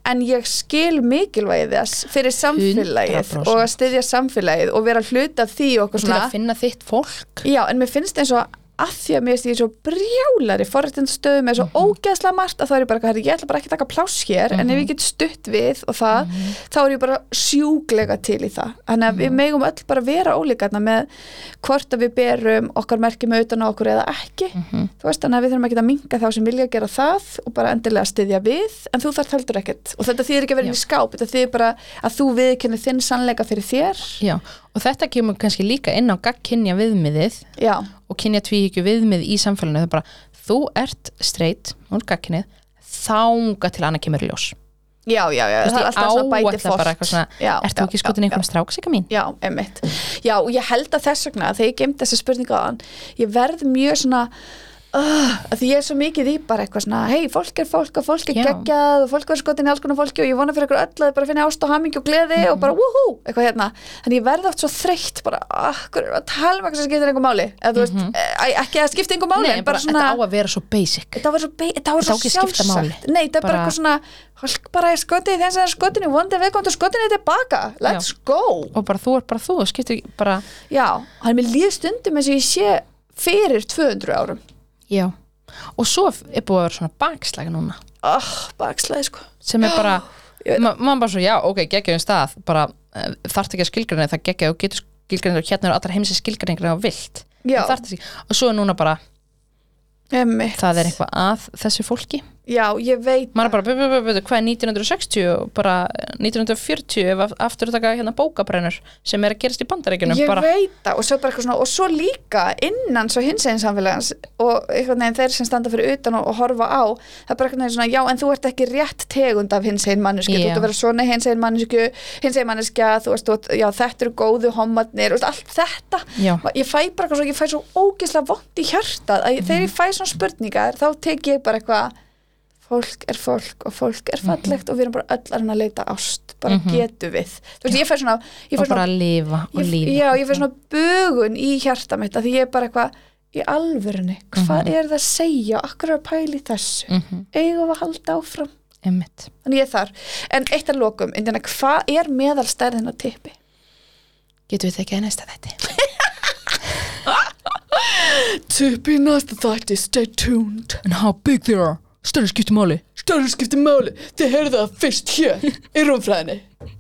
Speaker 1: en ég skil mikilvægið þess fyrir samfélagið
Speaker 2: 100%.
Speaker 1: og að styðja samfélagið og vera hluti af því og okkur
Speaker 2: til
Speaker 1: svona
Speaker 2: að finna þitt fólk
Speaker 1: Já, en mér finnst eins og að því að mér finnst ég svo brjálari forréttindastöðu með svo ógeðslega margt að þá er ég bara, eitthvað, "Herri, ég ætla bara ekki að taka pláss hér en ef ég get stutt við og það þá er ég bara sjúglega til í það þannig að við megum öll bara vera ólíkarna með hvort að við berum okkar merkjum auðan á okkur eða ekki
Speaker 2: Mhm.
Speaker 1: þú veist þannig að við þurfum ekki að minga þá sem vilja gera það og bara endilega styðja við en þú þarf heldur ekkert og þetta þýðir ekki að vera inn í skáp þetta þýðir bara að þú viðkennir þinn sannleika fyrir þér
Speaker 2: já. og þetta kemur kannski líka inn á gagkinja viðmiðið
Speaker 1: já,
Speaker 2: og kynja tvíhyggju viðmið í samfélaginu það er bara þú ert straight, hún er gagkinnið þánga til annað kemur í ljós
Speaker 1: já, já, já,
Speaker 2: Þú veist,
Speaker 1: það er
Speaker 2: ég
Speaker 1: alltaf svona bæti
Speaker 2: áætla bara eitthvað
Speaker 1: fórt
Speaker 2: svona,
Speaker 1: Já,
Speaker 2: ert þú
Speaker 1: já,
Speaker 2: ekki skutin
Speaker 1: já,
Speaker 2: einhvern strák sig að mín?
Speaker 1: Já, einmitt. Já, og ég held að þess vegna, þegar ég gemdi þessa spurningu á hann, ég verð mjög svona, uh, að því ég er svo mikið í bara eitthvað svona, hei, fólk er fólk og fólk er
Speaker 2: Já.
Speaker 1: geggjað og fólk verður skotin í alls konar fólki og ég vona fyrir ykkur öll að þið bara finna ást og hamingi og gleði
Speaker 2: Mhm.
Speaker 1: og bara wúhú, eitthvað hérna. Þannig ég verð oft svo þreytt bara, ah, hver er að tala með eitthvað sem skiptir einhver máli? Eða þú veist, eh, æ, ekki að skipta einhver máli,
Speaker 2: Mhm. Nei,
Speaker 1: en
Speaker 2: bara,
Speaker 1: bara svona,
Speaker 2: þetta á að vera svo basic
Speaker 1: þetta var svo, be- þetta var
Speaker 2: Þetta
Speaker 1: svo
Speaker 2: á ekki að skipta máli.
Speaker 1: sjálfsagt. Nei, þetta er bara
Speaker 2: Bara-
Speaker 1: eitthvað svona, fólk bara er skotið í þess að skotinu, vonandi viðkomandi skotinu tilbaka, let's go.
Speaker 2: og bara þú er bara þú, það skiptir ekki bara
Speaker 1: Já, hann er mér líð stundum eins og ég sé fyrir 200 árum
Speaker 2: Já, og svo er búið að vera svona bakslæg núna
Speaker 1: Oh,
Speaker 2: Ah,
Speaker 1: bakslæði sko
Speaker 2: sem er bara,
Speaker 1: Ég veit
Speaker 2: ma maður bara svo já, ok, geggjum stað, bara uh, þarft ekki að skilgreina það geggja og getur skilgreina og hérna eru allar heimsins skilgreiningar og vilt
Speaker 1: Já,
Speaker 2: þarft ekki, og svo er núna bara
Speaker 1: emmitt
Speaker 2: það er eitthvað að þessu fólki
Speaker 1: Já, ég veit
Speaker 2: maður er bara, bu- bu- bu- bu- hvað er 1960 og bara eh, 1940 ef aft- aftur taka hérna bókabrennur sem er að gerast í bandaríkjunum
Speaker 1: Ég
Speaker 2: bara,
Speaker 1: veit það og svo, bara eitthvað svona, og svo líka innan svo hinsegin samfélagans og einhvern veginn þeir sem standa fyrir utan og, og horfa á það er bara einhvern veginn svona já en þú ert ekki rétt tegund af hinsegin manneski
Speaker 2: Já.
Speaker 1: þú ert að vera svona hinsegin mannesku hinsegin manneskja þú veist þú ert, já þetta eru góðu homatnir og allt þetta
Speaker 2: Já.
Speaker 1: ég fæ bara eitthvað svo ég fæ svo ógislega vond í hjartað að ég, þegar
Speaker 2: Mm.
Speaker 1: ég fæ svona spurningar þá tek ég bara eitthvað fólk er fólk og fólk er fallegt
Speaker 2: Mhm.
Speaker 1: og við erum bara öll að reyna að leita ást bara getum við þú veist ég fæ svona ég fæ
Speaker 2: og
Speaker 1: svona
Speaker 2: bara að lifa og
Speaker 1: ég,
Speaker 2: lífa
Speaker 1: já, ég fyrir svona bugun í hjarta mitt að því ég er bara eitthvað í alvörunni, hvað er það að segja akkur er að pæli þessu,
Speaker 2: Mhm. mm
Speaker 1: eigum við að halda áfram
Speaker 2: einmitt
Speaker 1: þannig ég er þar, en eitt að lokum Indina, hvað er meðalstærðin á tippi?
Speaker 2: getum við tekið að næsta þetta
Speaker 1: Tippi næsta þætti, stay tuned
Speaker 2: and how big they are, stærri skiptumáli
Speaker 1: Störu skipti máli, þið heyrðu það fyrst hér í rúmfræðinni